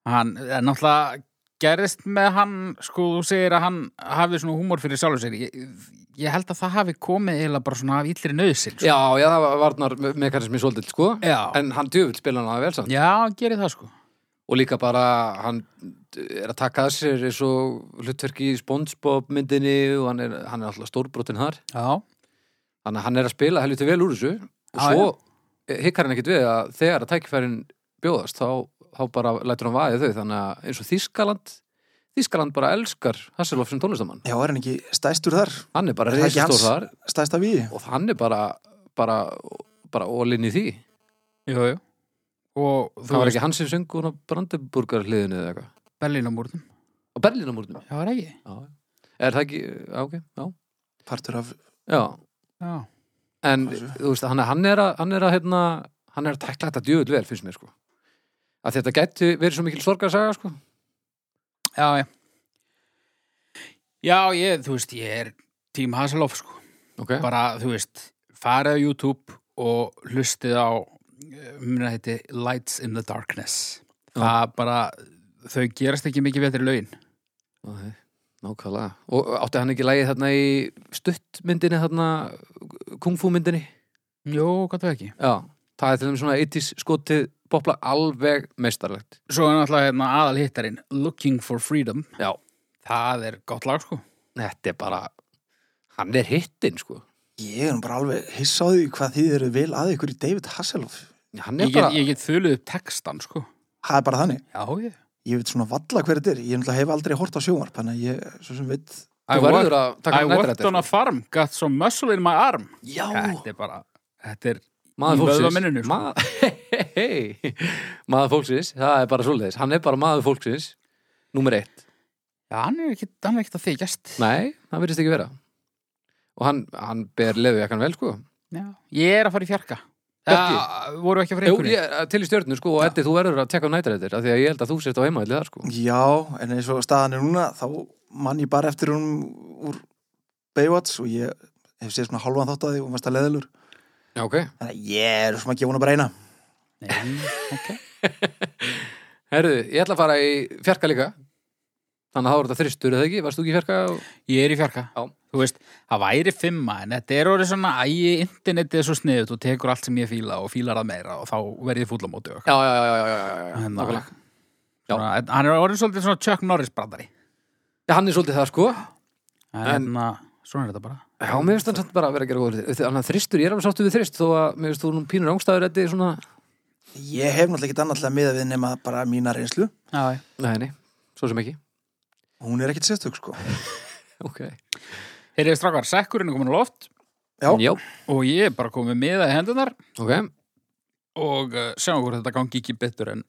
S1: Hann, en náttúrulega gerðist með hann, sko, þú segir að hann hafi svona húmor fyrir sjálfur sér. Ég, ég held að það hafi komið eiginlega bara svona af illri nöðsil, sko.
S2: já, já, það var varnar mekanismi svolítið, sko
S1: Já,
S2: en hann djöfull spila hann að vel samt
S1: já, hann gerir það, sko.
S2: og líka bara hann er að taka að sér eins og hlutverki í Spongebob myndinni og hann er, hann er alltaf stórbrotin þar
S1: Já.
S2: þannig að hann er að spila helviti vel úr þessu og
S1: Já,
S2: svo eh, hikkar hann ekkit við að þegar að tækifærin bjóðast þá, þá bara lætur hann vaðið þau þannig að eins og Þískaland Þískaland bara elskar Hasselhoff sem tónlistamann
S3: já, er hann ekki stæstur þar
S2: hann er bara
S3: Er það ekki
S2: reisastór
S3: hans?
S2: þar
S3: stæsta við
S2: og hann er bara bara, bara ólinn í því
S1: Jú, jú. Og þú
S2: það var
S1: veist,
S2: ekki hann sem söng hún á Brandenburgar hliðinu eða eitthvað
S1: Berlínamúrnum.
S2: á Berlínamúrnum
S1: Já, var það ekki.
S2: Já. Er það ekki, já, ok, já.
S3: partur af
S2: Já,
S1: Já.
S2: en
S3: Þessu.
S2: þú veist, hann, hann er að, hann er að, hérna, hann er að tækla þetta djöðul vel, finnst mér, sko. Að þetta gæti verið svo mikil sorgarsaga, sko.
S1: Já, já, já Já, ég, þú veist, ég er tím Hasselhoff, sko
S2: ok,
S1: bara, þú veist, farið á YouTube og hlustið á eh, muna heiti Lights in the Darkness það bara þau gerast ekki mikið vetri lögin
S2: Nei, nákvæmlega og átti hann ekki lægið þarna í stuttmyndinni þarna, kungfú myndinni
S1: Jó, hvað það ekki
S2: já, það er til þeim svona 80s skotið popla alveg meistarlegt
S1: Svo er náttúrulega hérna, aðal hittarinn Looking for Freedom
S2: já,
S1: Það er gott lag, sko
S2: þetta er bara hann er hittinn sko
S3: Ég er nú bara alveg hissa á því hvað þið eru vel að ykkur í David Hasselhoff.
S2: hann er
S1: Ég get,
S2: bara,
S1: ég get þulið upp textan, sko
S3: Það er bara þannig.
S1: Já, ég
S3: Ég veit svona valla hver þetta er. Ég náttúrulega hef aldrei hort á sjónvarp, þannig að ég svo sem veit...
S1: I
S2: þú verður að taka sko.
S1: I worked on
S2: nættirættir
S1: a farm, got some muscle in my arm
S3: Já!
S1: Þetta er bara, þetta er í
S2: maður
S1: vöðvaminninu,
S2: fólksins
S1: sko.
S2: Ma- Hey, maður fólksins, það er bara svoleiðis hann er bara maður fólksins, númer eitt
S1: Já, hann er ekkit, hann er ekkit að þykjast
S2: Nei, það verðist ekki vera Og hann, hann ber leðujakkan vel sko
S1: Já, ég er að fara í fjarka
S2: Bjarki?
S1: Já, voru ekki að fara
S2: Jú,
S1: einhverju?
S2: ég, til í stjörnu sko og Eddi, þú verður að tekka á nætarættir af því að ég held að þú sért á heimaðli þar sko
S3: Já, en eins og staðan er núna, þá mann ég bara eftir hún úr Baywatch og ég hef séð svona halvan þátt að því og varst að leðilur.
S2: Já, ok
S3: Þannig að ég er svona að gefa hún að bara eina.
S1: Nei, ok
S2: Herðu, ég ætla að fara í fjarka líka Þannig að það voru þetta þristur eða ekki, varst þú ekki í fjarka? Og...
S1: Ég er í fjarka
S2: Já.
S1: Þú veist, það væri fimma en þetta er orðið svona æ, internetið er svo sniðut og tekur allt sem ég fíla og fílar það meira og þá verðið fúlamóti og
S2: Já, já, já, já, já, já, já, já.
S1: Hérna.
S2: nákvæmlega. Já.
S1: svona, en hann er orðið svolítið svona Chuck Norris brandari
S2: Já, Hann er svolítið það sko Já, En-
S1: en, en svona er þetta bara
S2: mér finnst hann samt bara að vera að gera góður þér Þannig að þristur, ég er alveg sáttu við þrist þó að mér finnst þú nú pínur ángstæður Eddi svona
S3: Ég hef náttúrulega ekkert annað til að miða við nema bara mína reynslu.
S1: Já, já.
S2: Nei, nei, svo sem ekki
S3: Hún er ekkert sérstök, sko.
S2: Ok
S1: Heyrið strákar, sekkurinn er komin á loft
S3: Já,
S2: Já,
S1: og ég er bara komið með það í hendunar
S2: ok
S1: og uh, sjáum hvort þetta gangi ekki betur en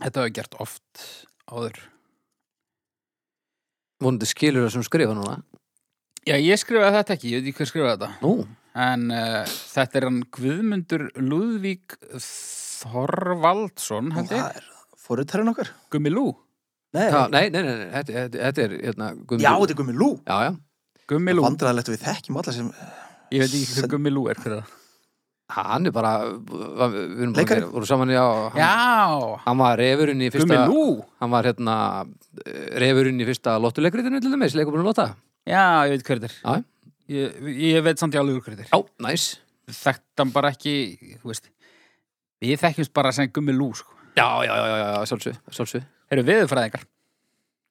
S1: þetta hefur gert oft áður
S2: Vonandi skilur það sem skrifa núna
S1: Já, ég skrifaði þetta ekki, ég veit ekki hver skrifaði þetta
S2: Nú,
S1: En uh, þetta er hann Guðmundur Lúðvík Þorvaldsson, held ég,
S3: það er fórutærin okkar.
S1: Gummi Lú.
S3: Nei,
S2: Já, nei, nei, nei, nei, þetta, þetta, þetta er hérna, Guðmundur-
S3: já, þetta er gummi lú.
S2: já, já,
S1: Gummi Lú,
S3: Vandræðilegt að við þekkjum alla sem eh,
S1: ég veit ekki hver Gummi Lú er hver er það.
S2: hann er bara við erum bara
S3: Leikari?
S2: þeir, voru saman, já hann,
S1: Já,
S2: hann var refurinn í
S1: Gummi
S2: fyrsta
S1: Lú.
S2: hann var hérna refurinn í fyrsta lottuleikritinu til dæmis, leikum búin að lotta
S1: Já, ég veit hver þetta er.
S2: Já.
S1: Ég, ég veit samt ég alveg hver þetta er.
S2: já, næs,
S1: Þekkt hann bara ekki, þú veist, við þekkjumst bara sem Gummi Lú, sko.
S2: já, já, já, já, já sjálfsög, sjálfsög,
S1: Eru viðurfræðingar?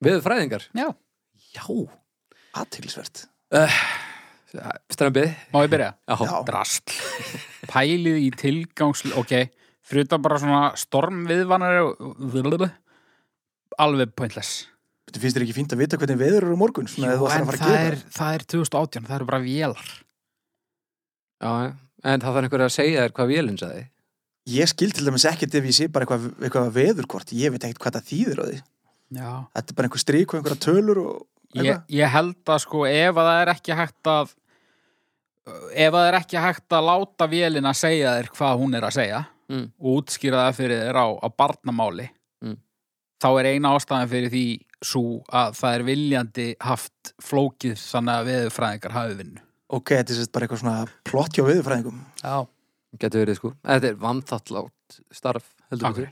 S2: við fræðingar
S1: Já.
S2: já,
S3: aðtilsvert.
S2: strempið
S1: Má ég byrja?
S2: já,
S3: Já.
S1: Drastl. Pælið í tilgangsl, ok, fyrir þetta bara svona stormviðvanar og alveg pointless.
S3: Þú finnst þér ekki fínt að vita hvernig veður eru á morgun, svona eða
S1: Jú,
S3: þú ætlar
S1: en
S3: að fara að
S1: það
S3: gera.
S1: er, það er 2018, það eru bara vélar
S2: já, en það þarf einhver að segja þér hvað vélinn sagði
S3: Ég skil til dæmis ekkert ef ég sé bara eitthvað, eitthvað veðurkort, ég veit ekkert hvað það þýðir á því.
S1: Já
S3: Þetta er bara einhver strik og einhverja tölur og
S1: Ég, ég held að sko ef að það er ekki hægt að ef að það er ekki hægt að láta vélina segja þér hvað hún er að segja
S2: Mm.
S1: og útskýra það fyrir þér á, á barnamáli
S2: Mm.
S1: þá er eina ástæðan fyrir því svo að það er viljandi haft flókið þannig að veðurfræðingar hafi vinnu
S3: ok, þetta er sérst bara eitthvað svona plott hjá veðurfræðingum.
S1: Já,
S2: getur verið sko, þetta er vantallát starf, heldur
S1: Af
S2: við
S1: hverju?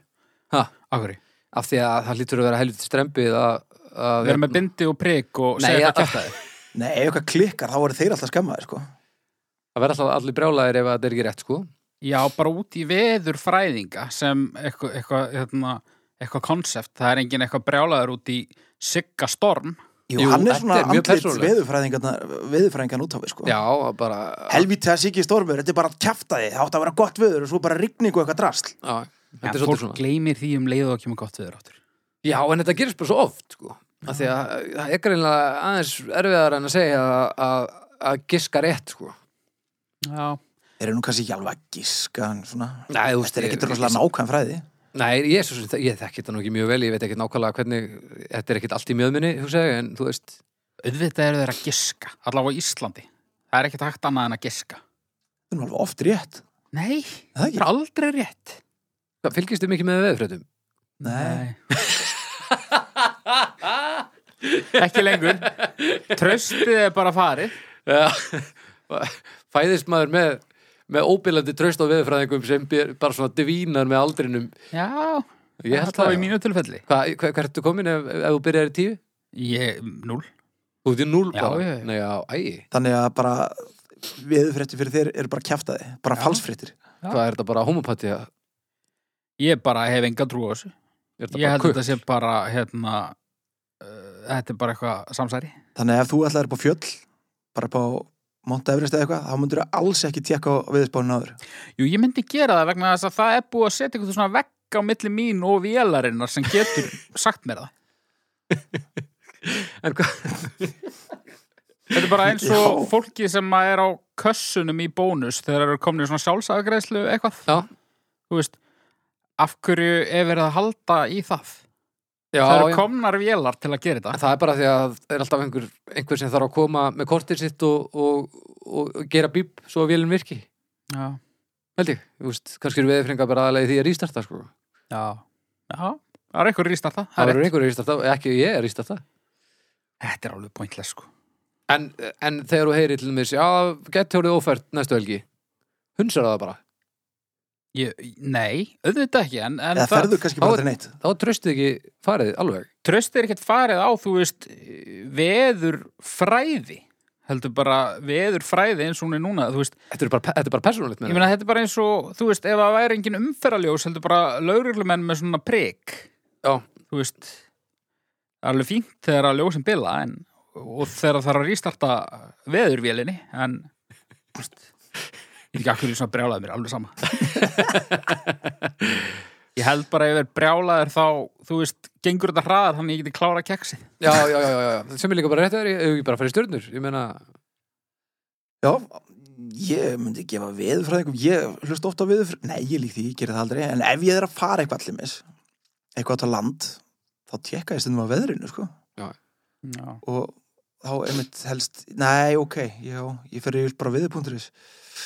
S2: Ha?
S1: akkurri
S2: af því að það lítur að vera helviti strempið að, að hérna-
S1: Við erum með bindi og prik og
S2: Nei,
S1: segja
S2: að-
S1: hvað kjartaði
S3: Nei, ef eitthvað klikkar þá eru þeir alltaf skammaðir, sko.
S2: Það verður alltaf allir brjálæðir ef þetta er ekki rétt sko
S1: Já, bara út í veðurfræðinga sem eitthvað eitthva, hérna, eitthva konsept, það er engin eitthvað brjálaður út í Sigga Storm
S3: Jú,
S2: Jú,
S3: hann
S2: þetta
S3: er svona
S2: er mjög
S3: andlit
S2: persónulegt.
S3: veðurfræðingan út á við, sko.
S2: Já, bara
S3: Helvítið að sikið stormur, þetta er bara að kjafta þið, það átt að vera gott veður og svo bara rigning og eitthvað drasl.
S2: já,
S1: en
S2: Þetta er
S1: fólk
S2: svolítið svona
S1: gleymir því um leið og kemur gott veður áttur.
S2: Já, en þetta gerist bara svo oft sko af því að það er greinlega aðeins erfiðar en að segja að, að, að giska rétt sko
S1: Já.
S3: Þeir eru nú kannski ekki alveg að giska, en svona.
S2: Nei, þú veist,
S3: Þetta er
S2: ég-
S3: ekkert rosalega nákvæm fræði.
S2: Nei, ég, svo, sem- ég þekki þetta nú ekki mjög vel ég veit ekki nákvæmlega hvernig þetta er ekkit allt í mjöðminni hugsa ég, en þú veist
S1: Auðvitað eru þeir að giska, allavega á Íslandi. Það er ekkert hægt annað en að giska.
S3: Það er nú alveg oft rétt.
S1: Nei,
S3: Er Það
S1: það
S3: ekki?
S1: er aldrei rétt.
S2: Hvað, Fylgist þið mikið með veðfréttum?
S3: Nei.
S1: ekki lengur Tröstið er bara farið
S2: Já. fæðist maður með með óbillandi traust á veðurfræðingum sem ber- bara svona divínar með aldrinum
S1: Já,
S2: ég
S1: það
S2: held það
S1: var í mínu tilfelli
S2: Hva, hva, hvað ertu komin ef, ef þú byrjar í tíu?
S1: Ég, núl
S2: Þú ert í núl
S1: Já,
S2: bara
S1: já, já.
S2: Nei, já, æ,
S3: Þannig að bara viðfréttir fyrir þeir eru bara kjaftaði, bara falsfréttir.
S1: Já.
S2: hvað er þetta bara homopati er
S1: Ég bara hef enga trú á þessu
S2: þetta
S1: Ég
S2: bara
S1: held
S2: kukk?
S1: þetta sé bara, hérna uh, Þetta er bara eitthvað samsæri
S3: Þannig að ef þú ætlaðir upp á fjöll, bara upp á Mount Everest eða eitthvað, þá myndur þú alls ekki tjekka á viðspáinu áður.
S1: Jú, ég myndi gera það vegna þess að það er búið að setja eitthvað svona vekk á milli mín og vélarinnar sem getur sagt mér það
S2: En hvað,
S1: Þetta er bara eins og
S3: Já.
S1: fólki sem að er á kössunum í bónus þegar þeir eru komin í svona sjálfsagreislu eitthvað
S2: já,
S1: Þú veist, af hverju er verið að halda í það?
S2: já,
S1: það eru
S2: já.
S1: komnar vélar til að gera
S2: En
S1: þetta
S2: það er bara því að það er alltaf einhver, einhver sem þarf að koma með kortið sitt og, og, og, og gera bíp svo að vélum virki,
S1: Já,
S2: held ég Þú veist, kannski eru veðurfræðingar bara aðlega því að rístarta sko.
S1: já, já Það er einhver ríst alltaf
S2: það eru einhverju rístarta, ekki ég er rístarta
S1: Þetta er alveg pointless sko
S2: En, en þegar þú heyrir til mér, já, gett hjólið ófært næstu helgi. Hunsar það bara.
S1: ég, Nei, auðvitað ekki en, en
S3: Eða ferðu kannski bara
S2: þá-
S3: til neitt.
S2: Þá tröstu ekki farið alveg.
S1: Tröst er ekkert farið á, þú veist, veður fræði heldur bara veður fræði eins og hún er núna, þú veist
S2: Þetta er bara, þetta er bara persónulegt með
S1: ég meina þetta er bara eins og, þú veist, ef það væri engin umferðaljós heldur bara lauruglumenn með svona prik
S2: Já,
S1: þú veist það er alveg fínt þegar að ljósin bila en, og þegar það er að rístarta veðurvélinni en þú veist, ég er ekki akkur í svona brjálaði mér alveg sama ég held bara ef ég verð brjálaður þá, þú veist, gengur þetta hraðar þannig að ég geti klára keksið
S2: já, já, já, já, já. Sem er líka bara rétt að vera, ég bara farið stjörnur. Ég meina,
S3: Já, ég myndi gefa viðfræðingum, ég hlust oft á viðfræðingum, nei, ég lík því, ég gerir það aldrei, en ef ég er að fara eitthvað allir mis, eitthvað átt á land, þá tjekka ég stundum á veðrinu, sko.
S1: Já.
S3: Og þá einmitt helst, nei, ok, já, ég fer yfir bara viðpunturis.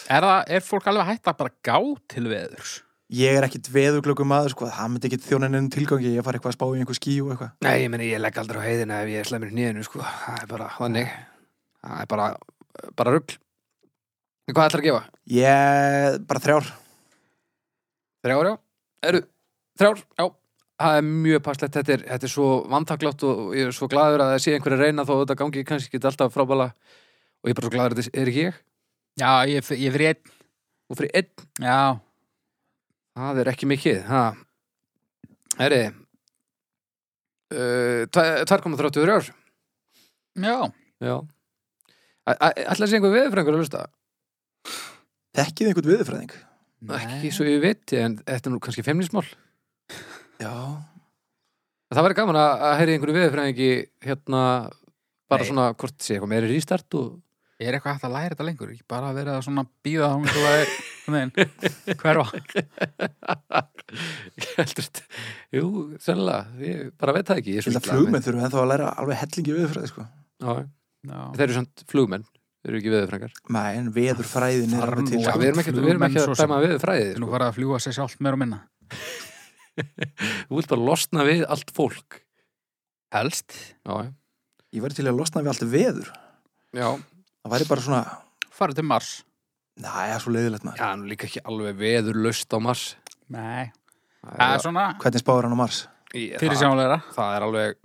S1: Er, það, er fólk alveg hægt að bara gá til veðurs?
S3: Ég er ekkit veðuglöku maður, sko, það myndi ekki þjóna ennum tilgangi, ég fari eitthvað að spá í einhver skí og eitthvað.
S2: nei, ég meina, ég legg aldrei á heiðina ef ég er slæmur í nýðinu, sko. Það er bara, þannig. Það er bara, bara rugl. En hvað ætlar að gefa?
S3: Ég, bara þrjár,
S2: Þrjár, já. Eru, þrjár, já. Það er mjög passlegt, þetta er, þetta er svo vantaklátt og ég er svo glaður að það sé einhverju reyna þó að þetta gangi kannski ekki alltaf frábæla og ég er bara svo glaður að þetta er ekki ég.
S1: Já, ég, f- ég fyrir einn
S2: Og fyrir einn,
S1: Já,
S2: það er ekki mikið, ha. Eri, uh, 2,33,
S1: já
S2: já. Ætla að sé einhver veðurfrængur að lusta?
S3: þekkið einhvern viðfræðing.
S2: Ekki svo ég viti, en þetta er nú kannski femnismál.
S3: Já,
S2: Það væri gaman að, að heyri einhverju veðurfrængi hérna, bara
S1: Nei.
S2: svona, hvort sé eitthvað meiri rístart og
S1: Er eitthvað hægt að læra þetta lengur? Ekki bara að vera að svona býða þá með það er hverfa
S2: Ég heldur þetta Jú, sennilega, ég bara veit það ekki Ég
S3: ég held að flugmenn þurfum ennþá að læra alveg hellingi viðfræði, sko.
S2: Þeir
S1: Já,
S2: eru samt flugmenn, þeir eru ekki veðurfrækar
S3: Nei, en veðurfræðin er alveg
S1: Farm
S2: Já,
S3: til.
S1: og-
S3: sko.
S2: við erum ekki, við erum
S1: Flugmenn
S2: ekki
S1: svo
S2: að
S1: sem.
S2: dæma veðurfræði
S1: nú
S2: sko.
S1: farið að fljúa sér sjálft meira og minna
S2: Þú vilt bara losna við allt fólk
S1: Helst
S2: Já,
S3: Ég væri til að losna við allt veður.
S2: já,
S3: Það væri bara svona,
S1: Farið til Mars
S3: næja, svo leiðilegt maður.
S2: já nú líka ekki alveg veðurlaust á Mars
S1: Nei, það
S2: Það
S1: er svona
S3: Hvernig spáður hann á Mars?
S2: ég-
S1: fyrir
S2: það-
S1: sjálfleira
S2: það er alveg,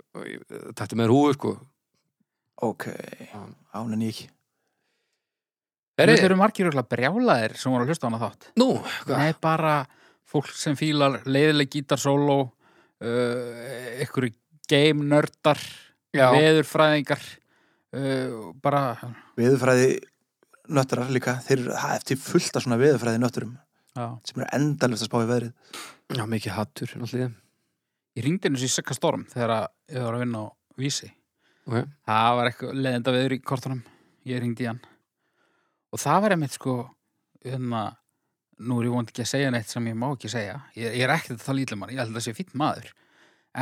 S2: tættu með húfu sko
S3: Ok,
S2: Já.
S3: án en ég ekki.
S1: Þetta
S2: Heri,
S1: eru margir öll brjálaðir sem voru að hlusta á hana þátt
S2: Nú, hvað?
S1: Nei, bara fólk sem fílar leiðileg gítarsóló uh, ykkur game nördar
S2: Já,
S1: veðurfræðingar uh, bara,
S3: Veðurfræði nötturar líka, þeir eru það er eftir fullt af svona veðurfræði nötturum
S1: já
S3: sem eru endalvist að spá í veðrið.
S2: já, mikið hattur náttúrulega.
S1: Ég ringdi henni svo í Sekka Storm þegar að ég var að vinna á Vísi
S2: Ok.
S1: Það var eitthvað leðenda veður í kortunum Ég ringdi í hann Og það var einmitt sko hérna, Nú er ég vond ekki að segja neitt sem ég má ekki segja Ég, ég er ekkert að tala ítlum hann Ég held að það sé fínn maður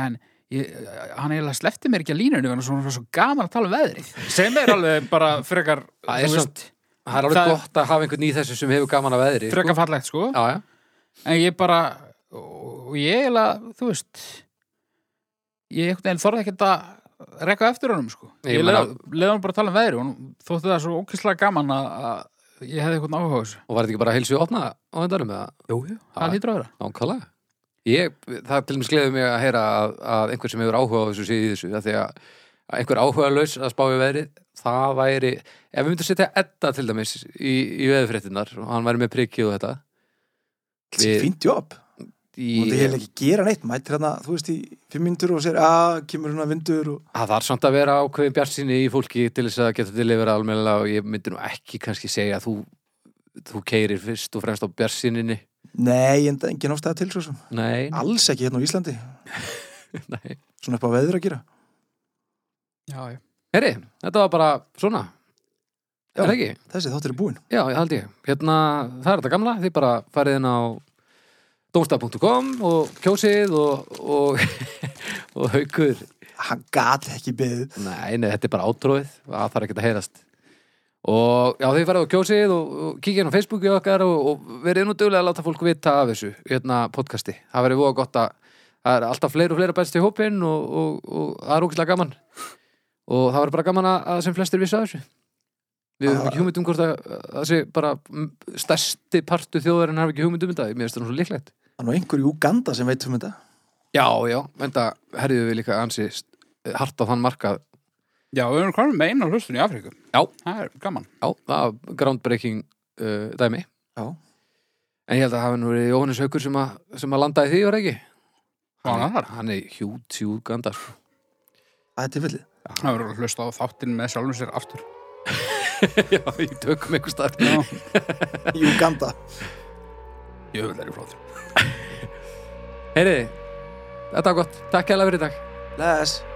S1: En ég, hann eiginlega slefti mér ekki að línunni Þannig að svona var svo gaman að tala um veðrið Sem er alveg bara frekar
S2: Það er
S1: þú
S2: samt- Það er alveg
S1: Það-
S2: gott að hafa einhvern í þessu sem hefur gaman að veðri sko.
S1: frekar fallegt sko
S2: Já, já,
S1: En ég bara og og ég eiginlega, þú veist ég einhvern veginn þorði ekkert að rekka eftir honum sko. Ég,
S2: Ég
S1: ég
S2: meina-
S1: leiði hann bara að tala um veðri og hún þótti það svo ókesslega gaman að, að ég hefði eitthvað áhuga á þessu.
S2: Og var þetta ekki bara heilsu opna á endanum eða?
S1: Jú, jú. Það
S2: Ha.
S1: hýttur að vera.
S2: Nákvæmlega. Ég, það til dæmis gleður mig að heyra að, að einhver sem hefur áhuga á þessu sé í þessu, að því að, að einhver áhuga laus að spá í veðrið, það væri, ef við myndum setja Edda til dæmis í, í veðurfréttinnar og hann væri með prikið og þetta.
S3: Þetta er fínt jobb
S2: í,
S3: Þú þetta hefði ekki gera neitt Mættir hérna, þú veist, í fimm myndur og sér að kemur hérna vindur og...
S2: að það er samt að vera ákveðin bjartsinni í fólki til þess að geta til yfir almennilega og ég myndi nú ekki kannski segja að þú, þú keirir fyrst og fremst á bjartsinninni.
S3: Nei, en engin ástæða til svo sem
S2: Nei,
S3: Alls ekki hérna á Íslandi
S2: nei.
S3: Svona upp á veður að gera
S1: Já, já.
S2: Heri, þetta var bara svona.
S3: Já.
S2: Er það ekki?
S3: Þessi þáttur er búinn
S2: Já, ég held ég. Hérna, það er þetta gamla, þið bara farið inn á domstaf.com og kjósið og, og, og haukur.
S3: Hann gat ekki beðið
S2: Nei, nei, þetta er bara átróið, það þarf ekki að heyrast. Og já, þið farið á kjósið og, og kíkja inn á Facebooki okkar og, og verið nú duglega að láta fólk vita af þessu, hérna, podcasti. Það verið voða gott að það er alltaf fleiri og fleiri bæst í hópinn og, og, og það er ógæslega gaman. Og það verið bara gaman að, að sem flestir vissu af þessu. Við höfum ekki hugmynd um hvort að það sé bara mm, stærsti partu þjóðarinn hafa ekki hugmynd um þetta, mér finnst það nú svo líklegt.
S3: Það er nú einhver í Uganda sem veit um þetta
S2: Já, já, en það herðum við líka ansi st- hart á þann markað
S1: Já, við erum komin með eina hlustun í Afríku.
S2: Já.
S1: Það er gaman.
S2: Já, það var groundbreaking uh, dæmi.
S3: Já.
S2: En ég held að það hafi nú verið Jóhannes Haukur sem að, sem að landaði því, var það ekki?
S1: Var hann
S2: er,
S1: þar?
S2: hann er hjút, hjút ganda, sko.
S3: Það er tilfellið
S1: Það verður að hlusta á þáttinn með sjálfum sér aftur.
S2: Já, ég tökum einhver starf.
S1: Já.
S3: Í Uganda
S1: Ég vil þeirri flóð.
S2: Heyriði, þetta var gott. Takk hella fyrir í dag.
S3: Bless